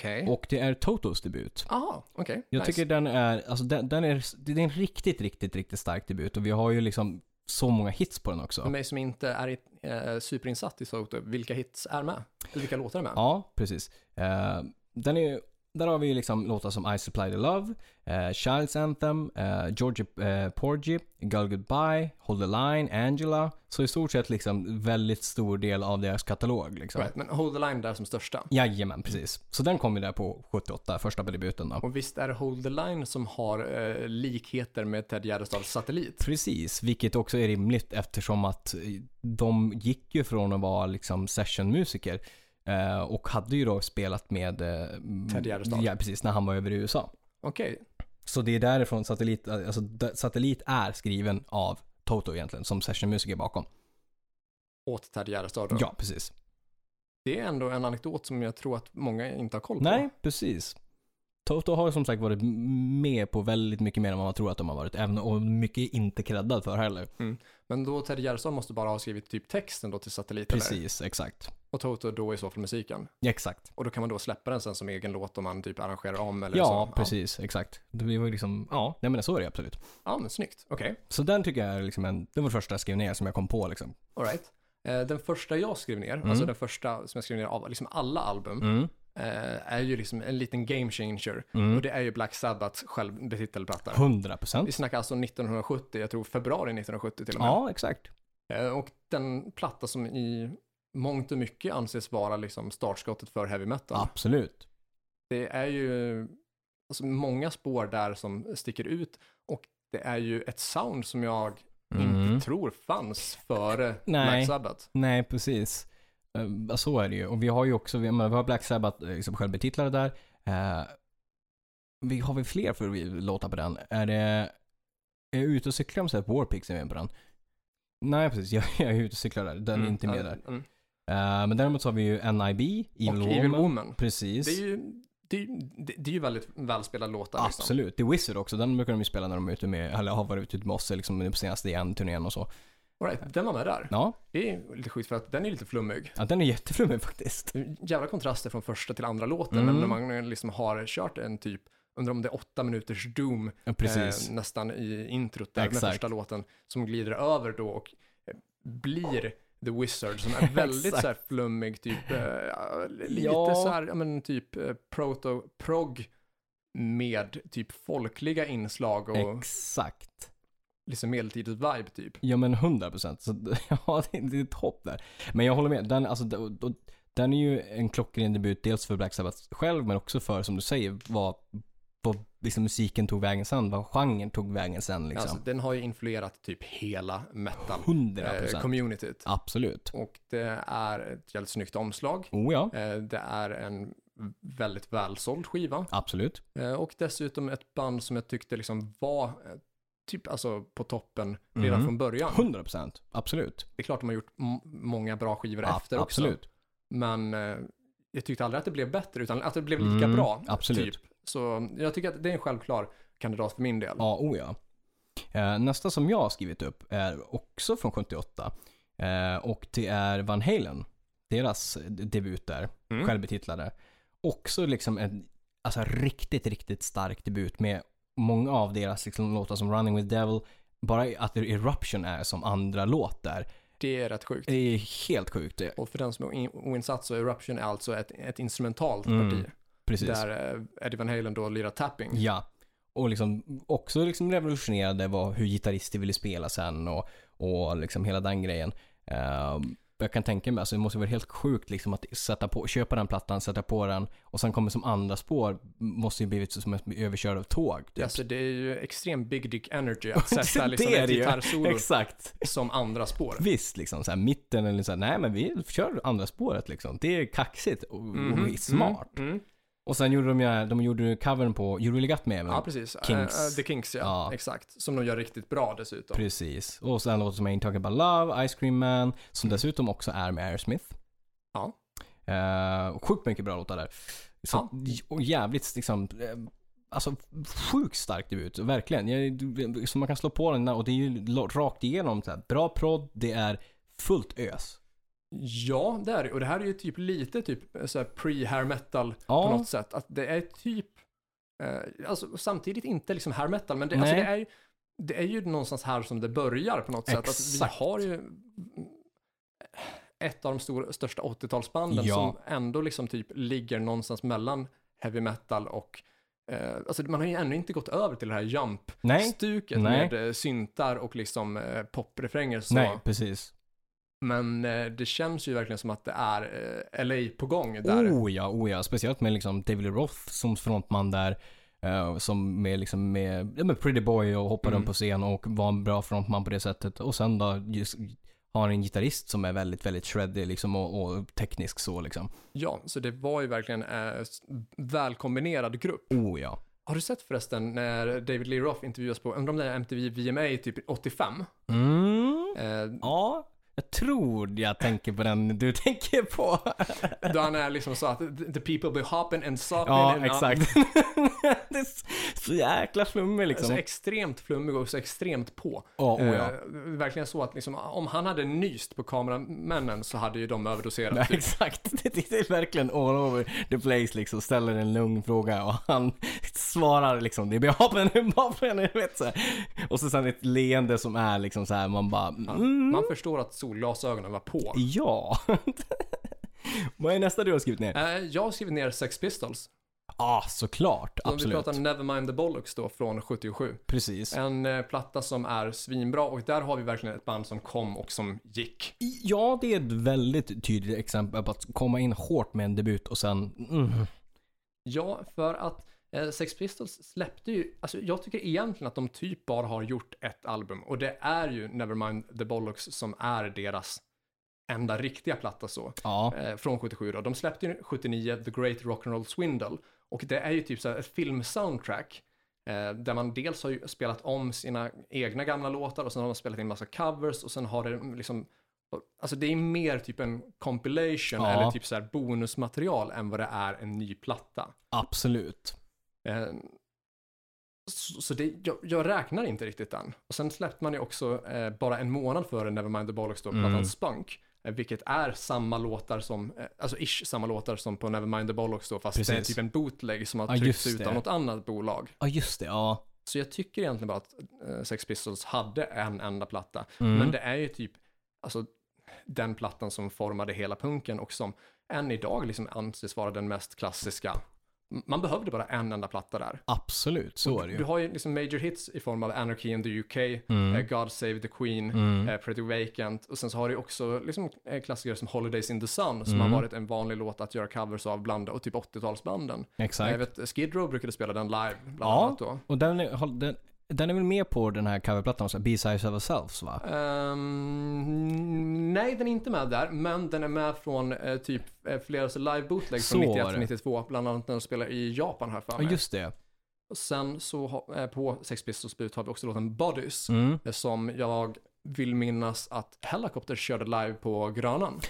S1: Okej.
S2: och det är Totos debut.
S1: Jaha, okej.
S2: Jag
S1: nice.
S2: tycker den är, alltså den, den är, det är en riktigt, riktigt, riktigt stark debut och vi har ju liksom så många hits på den
S1: För
S2: också.
S1: mig som inte är eh, superinsatt i Soto, vilka hits är med? Eller vilka låtar är med?
S2: Ja, precis. Eh, den är, där har vi ju liksom låtar som I Supply The Love, eh, Child's Anthem, eh, Georgia eh, Porgy, Girl Goodbye, Hold The Line, Angela. Så i stort sett liksom väldigt stor del av deras katalog liksom.
S1: Right, men Hold the Line där som största.
S2: Jajamän, precis. Så den kom ju där på 78, första debuten då.
S1: Och visst är det Hold the Line som har eh, likheter med Ted Gärdestads Satellit?
S2: Precis, vilket också är rimligt eftersom att eh, de gick ju från att vara liksom sessionmusiker eh, och hade ju då spelat med eh, mm,
S1: Ted Gärdestad.
S2: Ja, precis, när han var över i USA.
S1: Okej,
S2: Så det är därifrån Satellit, alltså d- Satellit är skriven av Toto egentligen, som sessionmusiker bakom.
S1: åt Ted Gärdestad då.
S2: Ja, precis.
S1: Det är ändå en anekdot som jag tror att många inte har koll på.
S2: Nej, precis. Toto har som sagt varit med på väldigt mycket mer än vad man tror att de har varit. Även och mycket inte creddad för heller.
S1: Men då Ted Gärdestad måste bara ha skrivit typ texten då till satelliten där.
S2: Precis, exakt.
S1: Och Toto då i så fall musiken.
S2: Exakt.
S1: Och då kan man då släppa den sen som egen låt om man typ arrangerar om eller så.
S2: Ja, precis, exakt. Det var ju liksom, ja, nej men så är det absolut.
S1: Ja, men snyggt. Okej,
S2: Så den tycker jag är liksom en, det var det första jag skrev ner som jag kom på liksom.
S1: all right. Eh, Den första jag skrev ner,
S2: Mm.
S1: alltså den första som jag skrev ner av liksom alla album, eh, är ju liksom en liten game changer.
S2: Mm.
S1: Och det är ju Black Sabbaths självbetitlade platta.
S2: 100
S1: Vi
S2: procent.
S1: snackar alltså 1970, jag tror februari 1970 till och med.
S2: Ja, exakt.
S1: Eh, Och den platta som i mångt och mycket anses vara liksom startskottet för heavy metal.
S2: Absolut.
S1: Det är ju alltså, många spår där som sticker ut och det är ju ett sound som jag
S2: Mm.
S1: inte tror fanns före
S2: Nej.
S1: Black Sabbath.
S2: Nej, precis. Eh, ja, Så är det ju. Och vi har ju också, vi, jag menar, vi har Black Sabbath eh, liksom självbetitlade där. Eh, vi har vi fler för vi låtar på den? Är det, är jag ute och cyklar om så här Warpix är med på den? Nej, precis. [laughs] Jag, jag är ute och cyklar där. Den är inte med där.
S1: Mm.
S2: Eh, men däremot så har vi ju NIB, Evil,
S1: och
S2: Woman.
S1: Evil Woman.
S2: Precis.
S1: Det är ju, liksom- det är, ju- det, det är ju väldigt välspelade låtar. Liksom.
S2: Absolut. Det är Wizard också. Den brukar de ju spela när de är ute med, eller har varit ute med oss liksom, på senaste igen-turnén och så.
S1: All right, den var med där.
S2: Ja,
S1: Det är lite sjukt för att den är lite flummig.
S2: ja den är jätteflummig faktiskt.
S1: jävla kontraster från första till andra låten.
S2: Mm.
S1: När man liksom har kört en typ, undrar om det är åtta minuters doom
S2: Ja, precis.
S1: eh, nästan i introt där med
S2: Exakt.
S1: första låten som glider över då och eh, blir The Wizard som
S2: [laughs]
S1: är väldigt
S2: Exakt.
S1: så här flummig, typ eh, lite
S2: Ja.
S1: så här, ja men typ eh, proto, prog med typ folkliga inslag och
S2: Eh, Exakt.
S1: liksom medeltidens vibe typ.
S2: Ja men 100 procent. Så [laughs] ja, det är- det är ett hopp där. Men jag håller med. Den, alltså, d- och- och den är ju en klockren debut dels för Black Sabbath själv men också för, som du säger, vad, vad liksom, musiken tog vägen sen. Vad genren tog vägen sen
S1: Alltså,
S2: liksom.
S1: den har ju influerat typ hela metal
S2: Hundra
S1: eh,
S2: procent.
S1: communityt.
S2: Absolut.
S1: Och det är ett jävligt snyggt omslag.
S2: Oh ja.
S1: Eh, Det är en väldigt välsåld skiva.
S2: Absolut.
S1: Eh, Och dessutom ett band som jag tyckte liksom var eh, typ alltså på toppen redan
S2: Mhm.
S1: från början.
S2: 100 procent. Absolut.
S1: Det är klart de har gjort m- många bra skivor
S2: A-
S1: efter också.
S2: absolut.
S1: Men eh, jag tyckte aldrig att det blev bättre utan att det blev lika
S2: Mm,
S1: bra.
S2: absolut.
S1: Typ. Så jag tycker att det är en självklar kandidat för min del.
S2: Ja, oh ja. Eh, nästa som jag har skrivit upp är också från 78. Eh, och det är Van Halen. Deras debut där,
S1: Mm.
S2: självbetitlade. Också liksom en alltså, riktigt, riktigt stark debut med många av deras liksom, låtar som Running with Devil. Bara att Eruption är som andra låt där.
S1: Det är rätt sjukt.
S2: Det är helt sjukt. Eh, Det.
S1: Och för den som är oin- oinsatt så är Eruption alltså ett, ett instrumentalt
S2: Mm,
S1: parti.
S2: Precis.
S1: Där eh, Eddie Van Halen då lirar tapping.
S2: Ja. Och liksom också liksom revolutionerade vad, hur gitarrister ville spela sen och, och liksom hela den grejen. Ehm, jag kan tänka mig, alltså det måste vara helt sjukt liksom att sätta på, köpa den plattan, sätta på den och sen kommer som andra spår, måste ju blivit som att bli överkörd av tåg. typ.
S1: Alltså det är ju extrem big dick energy
S2: [laughs]
S1: att sätta
S2: Det
S1: liksom
S2: är
S1: ett
S2: det ju.
S1: gitarrsolo
S2: Exakt.
S1: som andra spår.
S2: Visst, liksom så här mitten eller så här, nej men vi kör andra spåret liksom. Det är kaxigt och, och smart.
S1: Mm. Mm.
S2: Och sen gjorde de ju, de gjorde ju covern på You Really Got Me även.
S1: Ja, precis.
S2: Kinks.
S1: Eh, eh, The Kinks, ja.
S2: Ja.
S1: Exakt. Som de gör riktigt bra dessutom.
S2: Precis. Och sen låter som Ain't Talking About Love, Ice Cream Man, som dessutom också är med Aerosmith.
S1: Mm. Ja.
S2: Eh, sjukt mycket bra låtar där. Så, Och jävligt liksom, eh, alltså sjukt stark debut, verkligen. Jag, så man kan slå på den där och det är ju lo- rakt igenom så här, bra prodd, det är fullt ös.
S1: Ja, det är det. Och det här är ju typ lite typ så här pre-hair metal på
S2: Ja,
S1: något sätt. Att det är typ, eh, alltså samtidigt inte liksom hair metal, men det, alltså, det,
S2: Nej.
S1: är ju, det är ju någonstans här som det börjar på något sätt. Alltså,
S2: Exakt.
S1: vi har ju ett av de stor, största 80-talsbanden
S2: Ja.
S1: som ändå liksom typ ligger någonstans mellan heavy metal och eh, Alltså man har ju ännu inte gått över till det här
S2: nej,
S1: jump-stuket
S2: Nej.
S1: med eh, syntar och liksom eh, poprefränger. Så.
S2: nej, precis.
S1: Men eh, det känns ju verkligen som att det är eh, LA på gång där.
S2: Oh ja, oh ja. Speciellt med liksom David Lee Roth som frontman där. eh, som med, liksom med, ja, med Pretty Boy och hoppade
S1: Mm.
S2: upp på scen och var en bra frontman på det sättet. Och sen då just, har en gitarrist som är väldigt, väldigt shreddy liksom och, och teknisk så liksom.
S1: Ja, så det var ju verkligen en välkombinerad grupp.
S2: Oh ja.
S1: Har du sett förresten när David Lee Roth intervjuas på, undrar om det är MTV VMA typ 85?
S2: Mm.
S1: Eh,
S2: Ja. Jag tror jag tänker på den du [laughs] tänker på.
S1: Då han är liksom så att the people be hopping and sopping.
S2: [laughs] Ja,
S1: and
S2: exakt. [laughs] det är så jäkla flummig
S1: Så
S2: liksom.
S1: extremt flummig och så extremt på.
S2: Ja, oh, ja.
S1: Eh, verkligen så att liksom, om han hade nyst på kameramännen så hade ju de
S2: [laughs]
S1: överdoserat.
S2: Ja, exakt. Det det är verkligen all over the place liksom. Ställer en lugn fråga och han svarar liksom det är vapen, vapen, du vet så här. Och så sen ett leende som är liksom så här man bara mm,
S1: Man förstår att solglasögonen var på.
S2: ja. [laughs] Vad är nästa du har skrivit ner?
S1: Eh, jag har skrivit ner Sex Pistols.
S2: Ja, ah, såklart.
S1: Om vi
S2: Absolut.
S1: pratar Nevermind the Bollocks då från 77.
S2: Precis.
S1: En eh, platta som är svinbra och där har vi verkligen ett band som kom och som gick.
S2: Ja, det är ett väldigt tydligt exempel på att komma in hårt med en debut och sen mm,
S1: Ja, för att eh, Sex Pistols släppte ju, alltså jag tycker egentligen att de typ bara har gjort ett album och det är ju Nevermind the Bollocks som är deras enda riktiga platta så.
S2: ja.
S1: eh, från 77 då. De släppte ju 79 The Great Rock'n'Roll Swindle och det är ju typ så här ett filmsoundtrack eh, där man dels har ju spelat om sina egna gamla låtar och sen har man spelat in massa covers och sen har det liksom Alltså det är mer typ en compilation
S2: Ja.
S1: eller typ så här bonusmaterial än vad det är en ny platta.
S2: Absolut.
S1: Eh, Så, så det, jag, jag räknar inte riktigt den. Och sen släppte man ju också eh, bara en månad före Nevermind the Bollocks då, plattan
S2: Mm.
S1: Spunk. eh, Vilket är samma låtar som, eh, alltså ish samma låtar som på Nevermind the Bollocks då, fast det är
S2: Precis.
S1: typ en bootleg som har
S2: Ja,
S1: tryckts
S2: just
S1: ut
S2: det.
S1: av något annat bolag.
S2: Ja, just det. Ja.
S1: Så jag tycker egentligen bara att eh, Sex Pistols hade en enda platta.
S2: Mm.
S1: Men det är ju typ, alltså den plattan som formade hela punken och som än idag liksom anses vara den mest klassiska. M- Man behövde bara en enda platta där.
S2: Absolut, så är det
S1: Du
S2: ju.
S1: har ju liksom major hits i form av Anarchy in the UK,
S2: Mm.
S1: eh, God Save the Queen,
S2: Mm.
S1: eh, Pretty Vacant och sen så har du också liksom eh, klassiker som Holidays in the Sun som
S2: Mm.
S1: har varit en vanlig låt att göra covers av bland och typ 80-talsbanden. Eh, Jag
S2: Exakt.
S1: vet, Skid Row brukade spela den live bland
S2: Ja.
S1: annat då.
S2: Och den är, har- den, den är väl med på den här coverplattan, så här, B-Sides of Ourselves va?
S1: Ehm, nej, den är inte med där, men den är med från eh, typ eh, flera så live bootlegs från
S2: Så var det.
S1: 91-92, bland annat när de spelar i Japan här för
S2: Ja,
S1: mig.
S2: just det.
S1: Och sen så har- eh, på Sex Pistols debut har vi också låten Bodies.
S2: Mm.
S1: som jag vill minnas att Helicopter körde live på Grönan.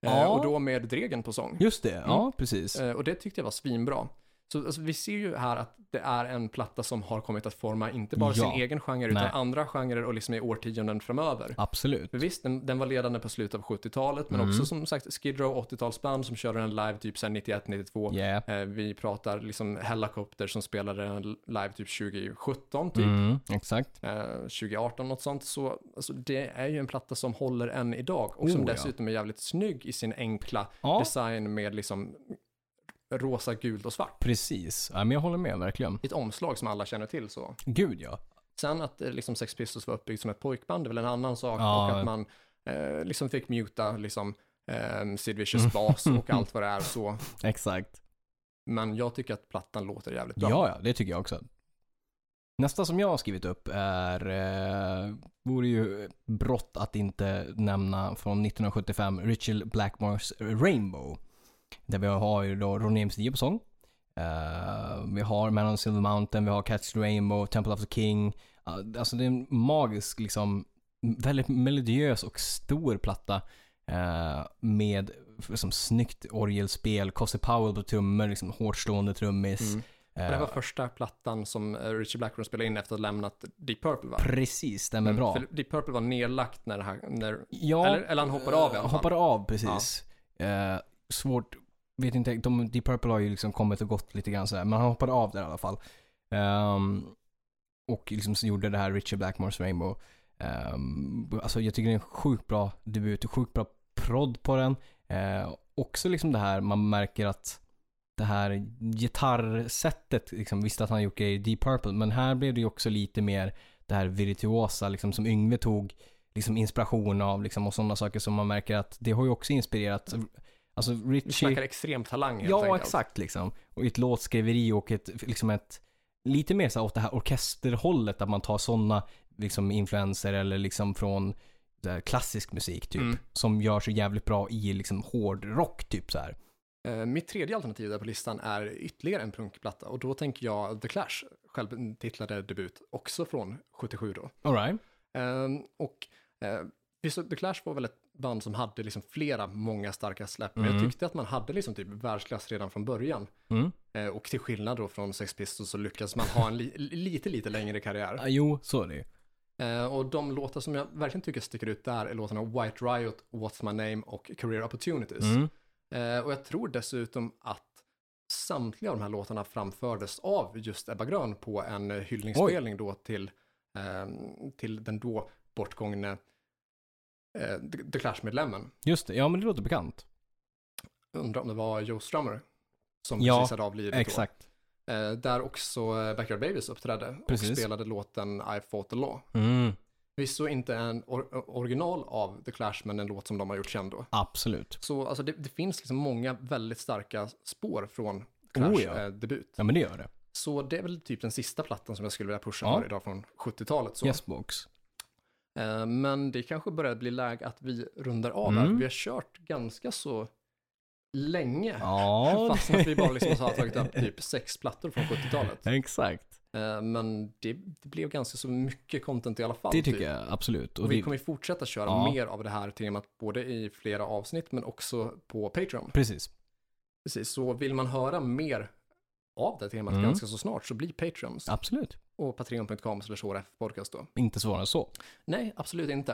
S2: Ja.
S1: Eh, och då med Dregen på sång.
S2: Just det, ja precis.
S1: Eh, och det tyckte jag var svinbra. Så alltså, vi ser ju här att det är en platta som har kommit att forma inte bara
S2: Ja.
S1: sin egen genre utan
S2: Nej.
S1: andra genrer och liksom i årtionden framöver.
S2: Absolut.
S1: För visst, den, den var ledande på slutet av 70-talet, men
S2: Mm.
S1: också som sagt Skid Row 80-talsband som körde den live typ sen 91-92.
S2: Yeah.
S1: Eh, vi pratar liksom Helicopter som spelade den live typ 2017 typ.
S2: Mm, exakt.
S1: Eh, 2018 något sånt, så alltså, det är ju en platta som håller än idag och
S2: Oh,
S1: som
S2: ja.
S1: dessutom är jävligt snygg i sin enkla
S2: Ja,
S1: design med liksom rosa, gult och svart.
S2: precis. Ja, men jag håller med verkligen.
S1: Ett omslag som alla känner till så.
S2: Gud ja.
S1: Sen att eh, liksom Sex Pistols var uppbyggt som ett pojkband är väl en annan sak
S2: Ja.
S1: och att man eh, liksom fick muta liksom eh, Sid
S2: Mm.
S1: Vicious bas
S2: [laughs]
S1: och allt vad det är så.
S2: Exakt.
S1: Men jag tycker att plattan låter jävligt bra.
S2: Ja, ja, det tycker jag också. Nästa som jag har skrivit upp är, eh, vore ju brott att inte nämna från 1975, Richard Blackmores Rainbow. Där vi har ju då Ronny MC på sång. Eh, vi har Man on Silver Mountain, vi har Catch the Rainbow, Temple of the King. Ja, alltså det är en magisk, liksom, väldigt melodiös och stor platta. eh, med liksom, snyggt orgelspel, Cosy Powell på trummor, liksom, hårt slående trummis.
S1: Mm. Det
S2: Eh,
S1: var första plattan som eh, Richie Blackmore spelade in efter att ha lämnat Deep Purple va?
S2: Precis, stämmer bra.
S1: Mm, För Deep Purple var nedlagt när, det här, när
S2: Ja,
S1: Eller- eller han hoppade av i alla fall.
S2: Hoppade av, precis. Eh, svårt, vet inte, de, Deep Purple har ju liksom kommit och gått lite grann sådär, men han hoppade av där i alla fall. Ehm, och liksom så gjorde det här Richard Blackmores Rainbow. Ehm, alltså jag tycker det är en sjukt bra debut, sjukt bra prodd på den. Eh, också liksom det här, man märker att det här gitarrsättet, liksom, visst att han gjort grejer i Deep Purple, men här blev det ju också lite mer det här virtuosa liksom, som Yngve tog liksom, inspiration av liksom, och sådana saker som man märker att det har ju också inspirerat. Alltså
S1: Vi
S2: Richie...
S1: snackar extrem talang helt
S2: Ja,
S1: enkelt.
S2: exakt liksom. Och ett låtskriveri och ett, liksom ett, lite mer så här åt det här orkesterhållet, att man tar sådana liksom influenser eller liksom från så här, klassisk musik typ,
S1: Mm.
S2: som gör sig jävligt bra i liksom hårdrock typ så här.
S1: Eh, mitt tredje alternativ där på listan är ytterligare en punkplatta och då tänker jag The Clash, självtitlade debut, också från 77 då.
S2: All right.
S1: Eh, och eh, Visst, The Clash var väl ett band som hade liksom flera många starka släpp, men jag
S2: Mm.
S1: tyckte att man hade liksom typ världsklass redan från början.
S2: Mm.
S1: Eh, och till skillnad då från Sex Pistols så lyckas man ha en li- lite, lite längre karriär.
S2: Ah, jo, så är det ju.
S1: Eh, och de låtar som jag verkligen tycker sticker ut där är låtarna White Riot, What's My Name och Career Opportunities.
S2: Mm.
S1: Eh, och jag tror dessutom att samtliga av de här låtarna framfördes av just Ebba Grön på en eh, hyllningsspelning då till, ehm, till den då bortgångne eh, The- The Clash-medlemmen.
S2: Just det, ja men det låter bekant.
S1: Undrar om det var Joe Strummer som
S2: Ja,
S1: precis hade avlidit då.
S2: Exakt.
S1: Eh, där också eh, Backyard Babies uppträdde och
S2: Precis.
S1: spelade låten I fought the law.
S2: Mm.
S1: Visst inte en or- eh, original av The Clash, men en låt som de har gjort känd då.
S2: Absolut.
S1: Så alltså, det, det finns liksom många väldigt starka spår från Clash
S2: Oh, ja.
S1: eh, debut.
S2: Ja men det gör det.
S1: Så det är väl typ den sista plattan som jag skulle vilja pusha
S2: Ja.
S1: för idag från 70-talet. Så.
S2: Yesbox.
S1: Eh, Men det kanske börjar bli läge att vi rundar av här.
S2: Mm.
S1: Vi har kört ganska så länge. [laughs]
S2: Ja.
S1: Fast att vi bara liksom har tagit
S2: [laughs]
S1: upp typ sex plattor från 70-talet.
S2: Exakt.
S1: Eh, Men det, det blev ganska så mycket content i alla fall.
S2: Det tycker
S1: typ.
S2: jag absolut.
S1: Och
S2: Och
S1: vi
S2: det,
S1: kommer ju fortsätta köra
S2: Ja.
S1: mer av det här temat både i flera avsnitt men också på Patreon.
S2: precis.
S1: Precis, så vill man höra mer av det temat
S2: Mm.
S1: ganska så snart så bli Patreons.
S2: Absolut.
S1: Och patreon.com slash podcast då.
S2: Inte svårare än så.
S1: Nej, absolut inte.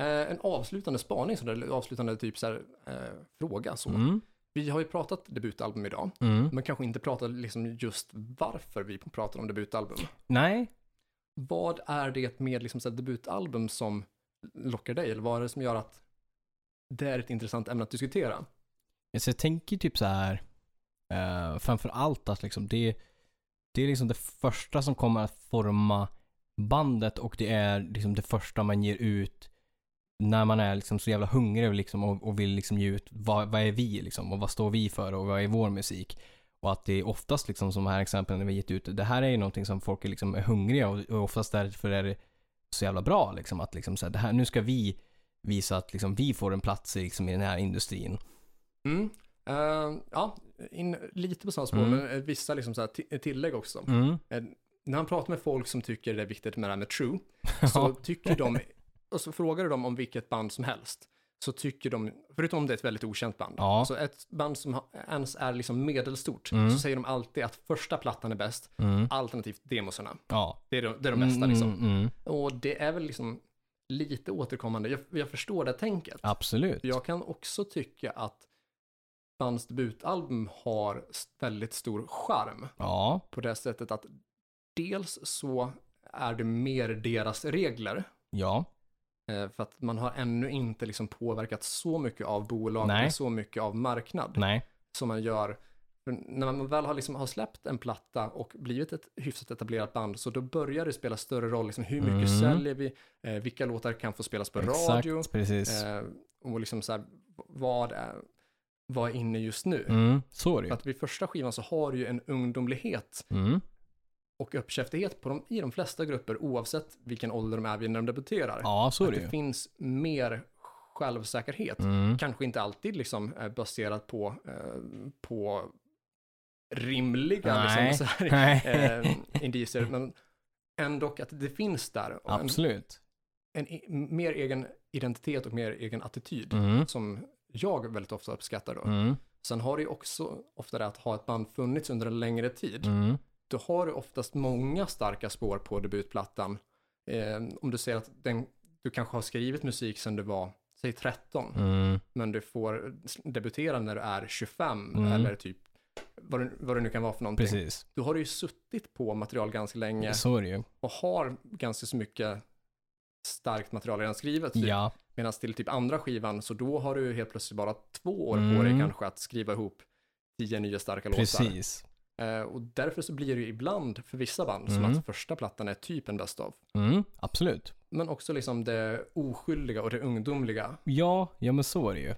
S1: Eh, en avslutande spaning, sådär, eller avslutande typ så här, eh, fråga. Så.
S2: Mm.
S1: Vi har ju pratat debutalbum idag,
S2: Mm.
S1: men kanske inte pratat liksom just varför vi pratar om debutalbum.
S2: Nej.
S1: Vad är det med liksom så här debutalbum som lockar dig? Eller vad är det som gör att det är ett intressant ämne att diskutera?
S2: Alltså, jag tänker typ så här. eh, framför allt att liksom det, det är liksom det första som kommer att forma bandet och det är liksom det första man ger ut när man är liksom så jävla hungrig och liksom och, och vill liksom ge ut vad, vad är vi liksom och vad står vi för och vad är vår musik. Och att det är oftast liksom som här exemplen när vi gett ut, det här är ju någonting som folk är liksom är hungriga och, och oftast därför är det så jävla bra liksom att liksom så här, det här, nu ska vi visa att liksom vi får en plats i, liksom, i den här industrin.
S1: Mm. Eh, ja, in, lite på samma spår,
S2: Mm.
S1: men eh, vissa liksom så här ti- tillägg också.
S2: Mm.
S1: Eh, När han pratar med folk som tycker det är viktigt med det här med
S2: [laughs]
S1: true, så tycker de, och så frågar du dem om vilket band som helst, så tycker de, förutom om det är ett väldigt okänt band,
S2: Ja.
S1: så ett band som ha- ens är liksom medelstort,
S2: Mm.
S1: så säger de alltid att första plattan är bäst,
S2: Mm.
S1: alternativt demosarna.
S2: Ja.
S1: Det är de, det är de bästa liksom.
S2: Mm, mm, mm.
S1: Och det är väl liksom lite återkommande, jag, jag förstår det tänket.
S2: Absolut.
S1: Jag kan också tycka att bands debutalbum har s- väldigt stor charm
S2: Ja.
S1: på det sättet att dels så är det mer deras regler,
S2: Ja.
S1: eh, för att man har ännu inte liksom påverkat så mycket av bolag
S2: Nej.
S1: och så mycket av marknad
S2: Nej.
S1: som man gör. För när man väl har, liksom, har släppt en platta och blivit ett hyfsat etablerat band så då börjar det spela större roll, liksom, hur mycket
S2: Mm.
S1: säljer vi, eh, vilka låtar kan få spelas på radio,
S2: Exakt. Precis.
S1: eh, och liksom så här, vad är, vad är inne just nu?
S2: Mm. Så är det
S1: För
S2: ju.
S1: att vid första skivan så har du ju en ungdomlighet
S2: Mm.
S1: och uppkäftighet på dem, i de flesta grupper oavsett vilken ålder de är vid när de debuterar.
S2: Ja, så är
S1: att
S2: det
S1: det
S2: ju.
S1: finns mer självsäkerhet.
S2: Mm.
S1: Kanske inte alltid liksom eh, baserat på, eh, på rimliga
S2: Nej.
S1: liksom, så här,
S2: [laughs] Nej.
S1: eh, indicier, men ändå att det finns där. Och en,
S2: Absolut.
S1: en i- mer egen identitet och mer egen attityd
S2: Mm.
S1: som jag väldigt ofta uppskattar då.
S2: Mm.
S1: Sen har det ju också ofta det att ha ett band funnits under en längre tid.
S2: Mm.
S1: Då har du oftast många starka spår på debutplattan. Eh, om du säger att den, du kanske har skrivit musik sedan du var, säg 13,
S2: Mm.
S1: men du får debutera när du är 25
S2: Mm.
S1: eller typ vad det, vad det nu kan vara för någonting.
S2: Precis.
S1: Då har du ju suttit på material ganska länge
S2: Så är det ju.
S1: och har ganska så mycket starkt material redan skrivet. Typ.
S2: Ja.
S1: Medan till typ andra skivan, så då har du helt plötsligt bara två år på
S2: Mm.
S1: dig kanske att skriva ihop tio nya starka låtar.
S2: Precis.
S1: Eh, och därför så blir det ju ibland för vissa band som
S2: Mm.
S1: att första plattan är typ en best of.
S2: Mm. Absolut.
S1: Men också liksom det oskyldiga och det ungdomliga.
S2: Ja, ja men så är det ju.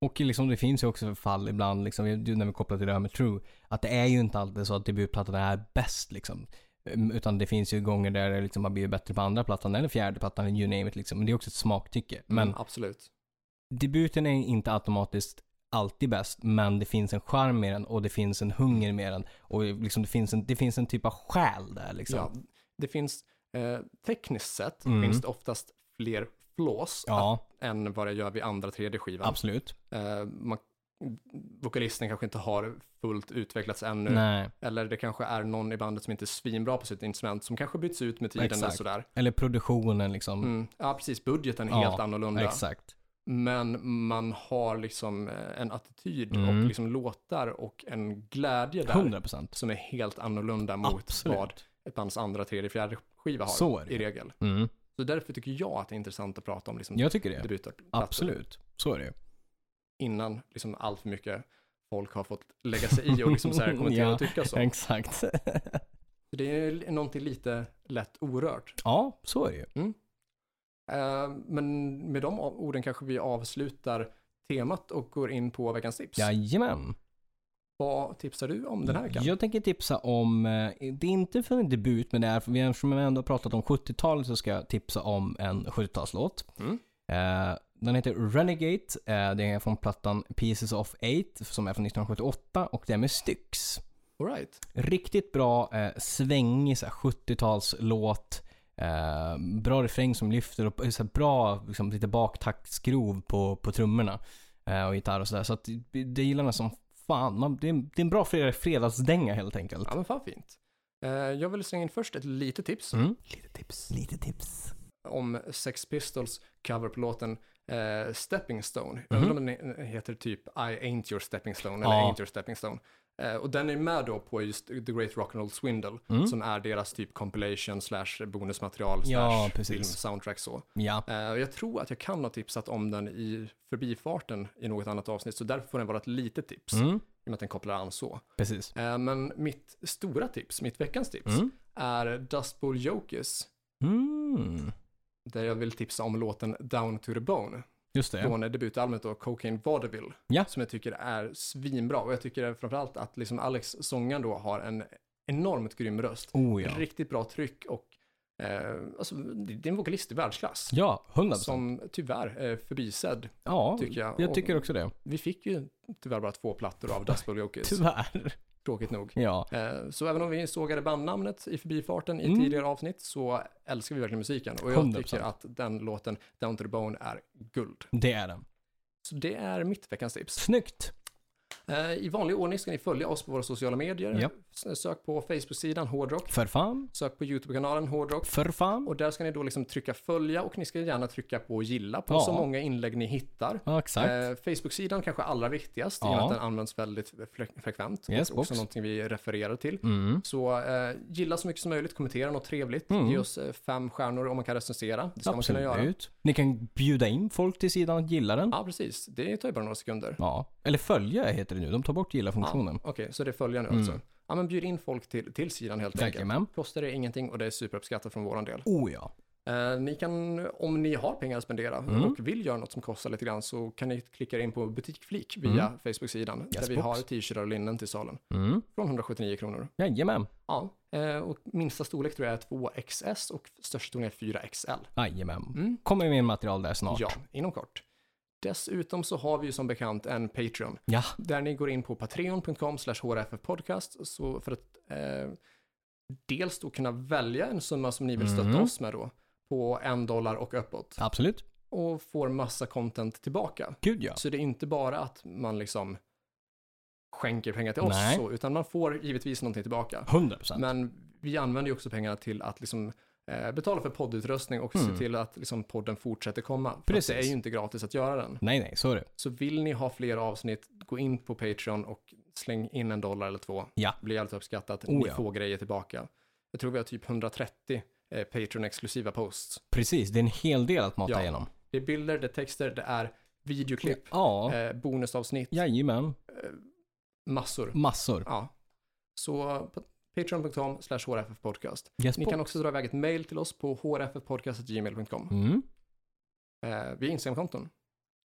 S2: Och liksom det finns ju också fall ibland, liksom, när vi kopplar till det här med true, att det är ju inte alltid så att debutplattan är bäst liksom. Mm, Utan det finns ju gånger där det liksom har blivit bättre på andra plattan eller fjärde plattan, you name it liksom. Men det är också ett smaktycke. Men
S1: Mm, absolut.
S2: debuten är inte automatiskt alltid bäst, men det finns en charm med den och det finns en hunger med den. Och liksom det finns en, det finns en typ av själ där liksom.
S1: Ja, det finns, eh, tekniskt sett
S2: Mm.
S1: finns det oftast fler flås
S2: Ja,
S1: än vad det gör vid andra 3D-skivan.
S2: absolut.
S1: Eh, man, vokalisten kanske inte har fullt utvecklats ännu.
S2: Nej.
S1: Eller det kanske är någon i bandet som inte är svinbra på sitt instrument som kanske byts ut med tiden. Eller
S2: Exakt.
S1: sådär.
S2: Eller produktionen liksom.
S1: Mm. Ja, precis. Budgeten är
S2: Ja,
S1: helt annorlunda.
S2: Exakt.
S1: Men man har liksom eh, en attityd
S2: Mm.
S1: och liksom låtar och en glädje där
S2: 100 procent.
S1: som är helt annorlunda mot vad
S2: Absolut.
S1: ett bands andra, tredje, fjärde skiva har
S2: Så är det
S1: i
S2: ju.
S1: regel.
S2: Mm.
S1: Så därför tycker jag att det är intressant att prata om liksom
S2: Jag tycker det.
S1: debutplattor
S2: Absolut. Så är det ju.
S1: innan liksom allt för mycket folk har fått lägga sig i och liksom så
S2: [laughs]
S1: här kommentera
S2: Ja,
S1: och tycka [laughs] så.
S2: Exakt.
S1: Så Det är ju någonting lite lätt orört.
S2: ja, så är det ju.
S1: Eh, Men med de orden kanske vi avslutar temat och går in på veckans tips.
S2: Jajamän.
S1: Vad tipsar du om den här veckan?
S2: Jag tänker tipsa om, eh, det är inte för en debut, men det är, för- eftersom vi ändå har pratat om 70-talet så ska jag tipsa om en 70-talslåt.
S1: Mm.
S2: Eh, Den heter Renegade, Eh, det är från plattan Pieces of Eight som är från 1978 och det är med Styx.
S1: All right.
S2: Riktigt bra eh, svängig så här 70-talslåt. Eh, bra refräng som lyfter och så här, bra liksom, lite baktaktsgrov på, på trummorna eh, och gitarr och sådär. Så att det- det gillar man som fan. Man, det, är, det är en bra fredag, fredagsdänga helt enkelt.
S1: Ja men fan fint. Eh, Jag vill slänga in först ett litet tips
S2: Mm.
S1: Lite tips.
S2: Lite tips.
S1: om Sex Pistols cover på låten eh, Stepping Stone. Jag undrar om den heter typ I Ain't Your Stepping Stone eller
S2: Mhm. Ja.
S1: Ain't Your Stepping Stone. Eh, och den är med då på just The Great Rock'n'Roll Swindle som är deras typ compilation slash bonusmaterial slash
S2: Mm. Ja, precis.
S1: film soundtrack så.
S2: Ja,
S1: Eh, och jag tror att jag kan ha tipsat om den i förbifarten i något annat avsnitt så därför får den vara ett litet tips i
S2: mm.
S1: och med att den kopplar an så.
S2: precis.
S1: Eh, men mitt stora tips, mitt veckans tips
S2: Mm.
S1: är Dust Bowl Jokers
S2: Mm.
S1: där jag vill tipsa om låten Down to the Bone
S2: Just det.
S1: från debutalbumet då, Cocaine Vaudeville,
S2: Ja.
S1: som jag tycker är svinbra. Och jag tycker framförallt att liksom Alex, sångaren då, har en enormt grym röst.
S2: Oh ja.
S1: Riktigt bra tryck och eh, alltså, det det är en vokalist i världsklass.
S2: Ja, 100%.
S1: Som tyvärr är förbisedd,
S2: ja,
S1: tycker jag.
S2: jag
S1: Och-
S2: tycker också det.
S1: Vi fick ju tyvärr bara två plattor av Dust Bowl Jokers,
S2: Tyvärr. [laughs]
S1: tråkigt nog.
S2: Ja,
S1: Eh, Så även om vi sågade bandnamnet i förbifarten i
S2: Mm.
S1: tidigare avsnitt så älskar vi verkligen musiken. Och jag
S2: 100%.
S1: tycker att den låten, Down to the Bone, är guld.
S2: det är den.
S1: Så det är mitt veckans tips.
S2: Snyggt.
S1: Eh, I vanlig ordning ska ni följa oss på våra sociala medier.
S2: Ja.
S1: S- eh, Sök på Facebook-sidan Hårdrock.
S2: För fan.
S1: Sök på YouTube-kanalen Hårdrock.
S2: För fan.
S1: Och där ska ni då liksom trycka följa och ni ska gärna trycka på gilla på
S2: Ja.
S1: så många inlägg ni hittar.
S2: Ja, exakt.
S1: Eh, Facebook-sidan kanske allra viktigast i och med
S2: Ja.
S1: att den används väldigt fre- frekvent.
S2: Yes,
S1: och också
S2: box.
S1: någonting vi refererar till.
S2: Mm.
S1: Så eh, gilla så mycket som möjligt, kommentera något trevligt,
S2: Mm.
S1: ge oss eh, fem stjärnor om man kan recensera. Det ska man kunna göra.
S2: Absolut. Ni kan bjuda in folk till sidan att gilla den.
S1: Ja, precis. Det tar ju bara några sekunder.
S2: Ja. Eller följa heter det nu. De tar bort gilla-funktionen.
S1: Okej, så det följer nu alltså. Ja, men bjud in folk till, till sidan helt enkelt.
S2: Mm. Jajamän.
S1: Kostar det ingenting och det är superuppskattat från våran del.
S2: Oh ja.
S1: Eh, ni kan, om ni har pengar att spendera
S2: Mm.
S1: och vill göra något som kostar lite grann så kan ni klicka er in på butikflik via
S2: Mm.
S1: Facebook-sidan där vi
S2: box.
S1: har t-shirtar och linnen till salen
S2: Mm.
S1: från 179 kronor.
S2: Jajamän.
S1: Ja, eh, och minsta storlek tror jag är 2XS och största storlek är 4XL.
S2: Jajamän. Kommer mer material där snart.
S1: Mm. Ja, inom kort. Dessutom så har vi ju som bekant en Patreon
S2: Ja.
S1: där ni går in på patreon.com slash hrffpodcast så för att eh, dels då kunna välja en summa som ni vill stötta
S2: Mm.
S1: oss med då på en dollar och uppåt
S2: Absolut.
S1: och får massa content tillbaka.
S2: Gud ja.
S1: Så det är inte bara att man liksom skänker pengar till oss
S2: Nej.
S1: så, utan man får givetvis någonting tillbaka.
S2: 100 procent.
S1: Men vi använder ju också pengarna till att liksom eh, betala för poddutrustning och se till att liksom podden fortsätter komma. För att
S2: Mm. Precis.
S1: Det är ju inte gratis att göra den.
S2: Nej, nej, så är det.
S1: Så vill ni ha fler avsnitt, gå in på Patreon och släng in en dollar eller två.
S2: Ja.
S1: Det blir alltid uppskattat.
S2: Oh,
S1: ni
S2: ja.
S1: får grejer tillbaka. Jag tror vi har typ 130 eh, Patreon-exklusiva posts.
S2: Precis. Det är en hel del att mata
S1: Ja.
S2: igenom.
S1: Det är bilder, det är texter, det är videoklipp,
S2: Ja.
S1: eh, bonusavsnitt,
S2: Jajamän.
S1: massor.
S2: Massor.
S1: Ja. Så på patreon.com slash hrffpodcast.
S2: Yes,
S1: Ni
S2: box.
S1: kan också dra iväg ett mail till oss på hrffpodcast.gmail.com.
S2: Mm.
S1: Eh, vi har Instagram-konton.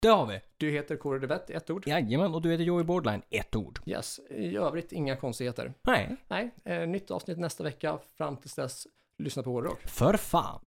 S2: Det har vi.
S1: Du heter Kåre Devett i ett ord.
S2: Jajamän. Och du heter Joey Bordline. Ett ord.
S1: Yes, i övrigt inga konstigheter.
S2: Nej.
S1: Nej, eh, nytt avsnitt nästa vecka. Fram tills dess, lyssna på hårdrock.
S2: För fan.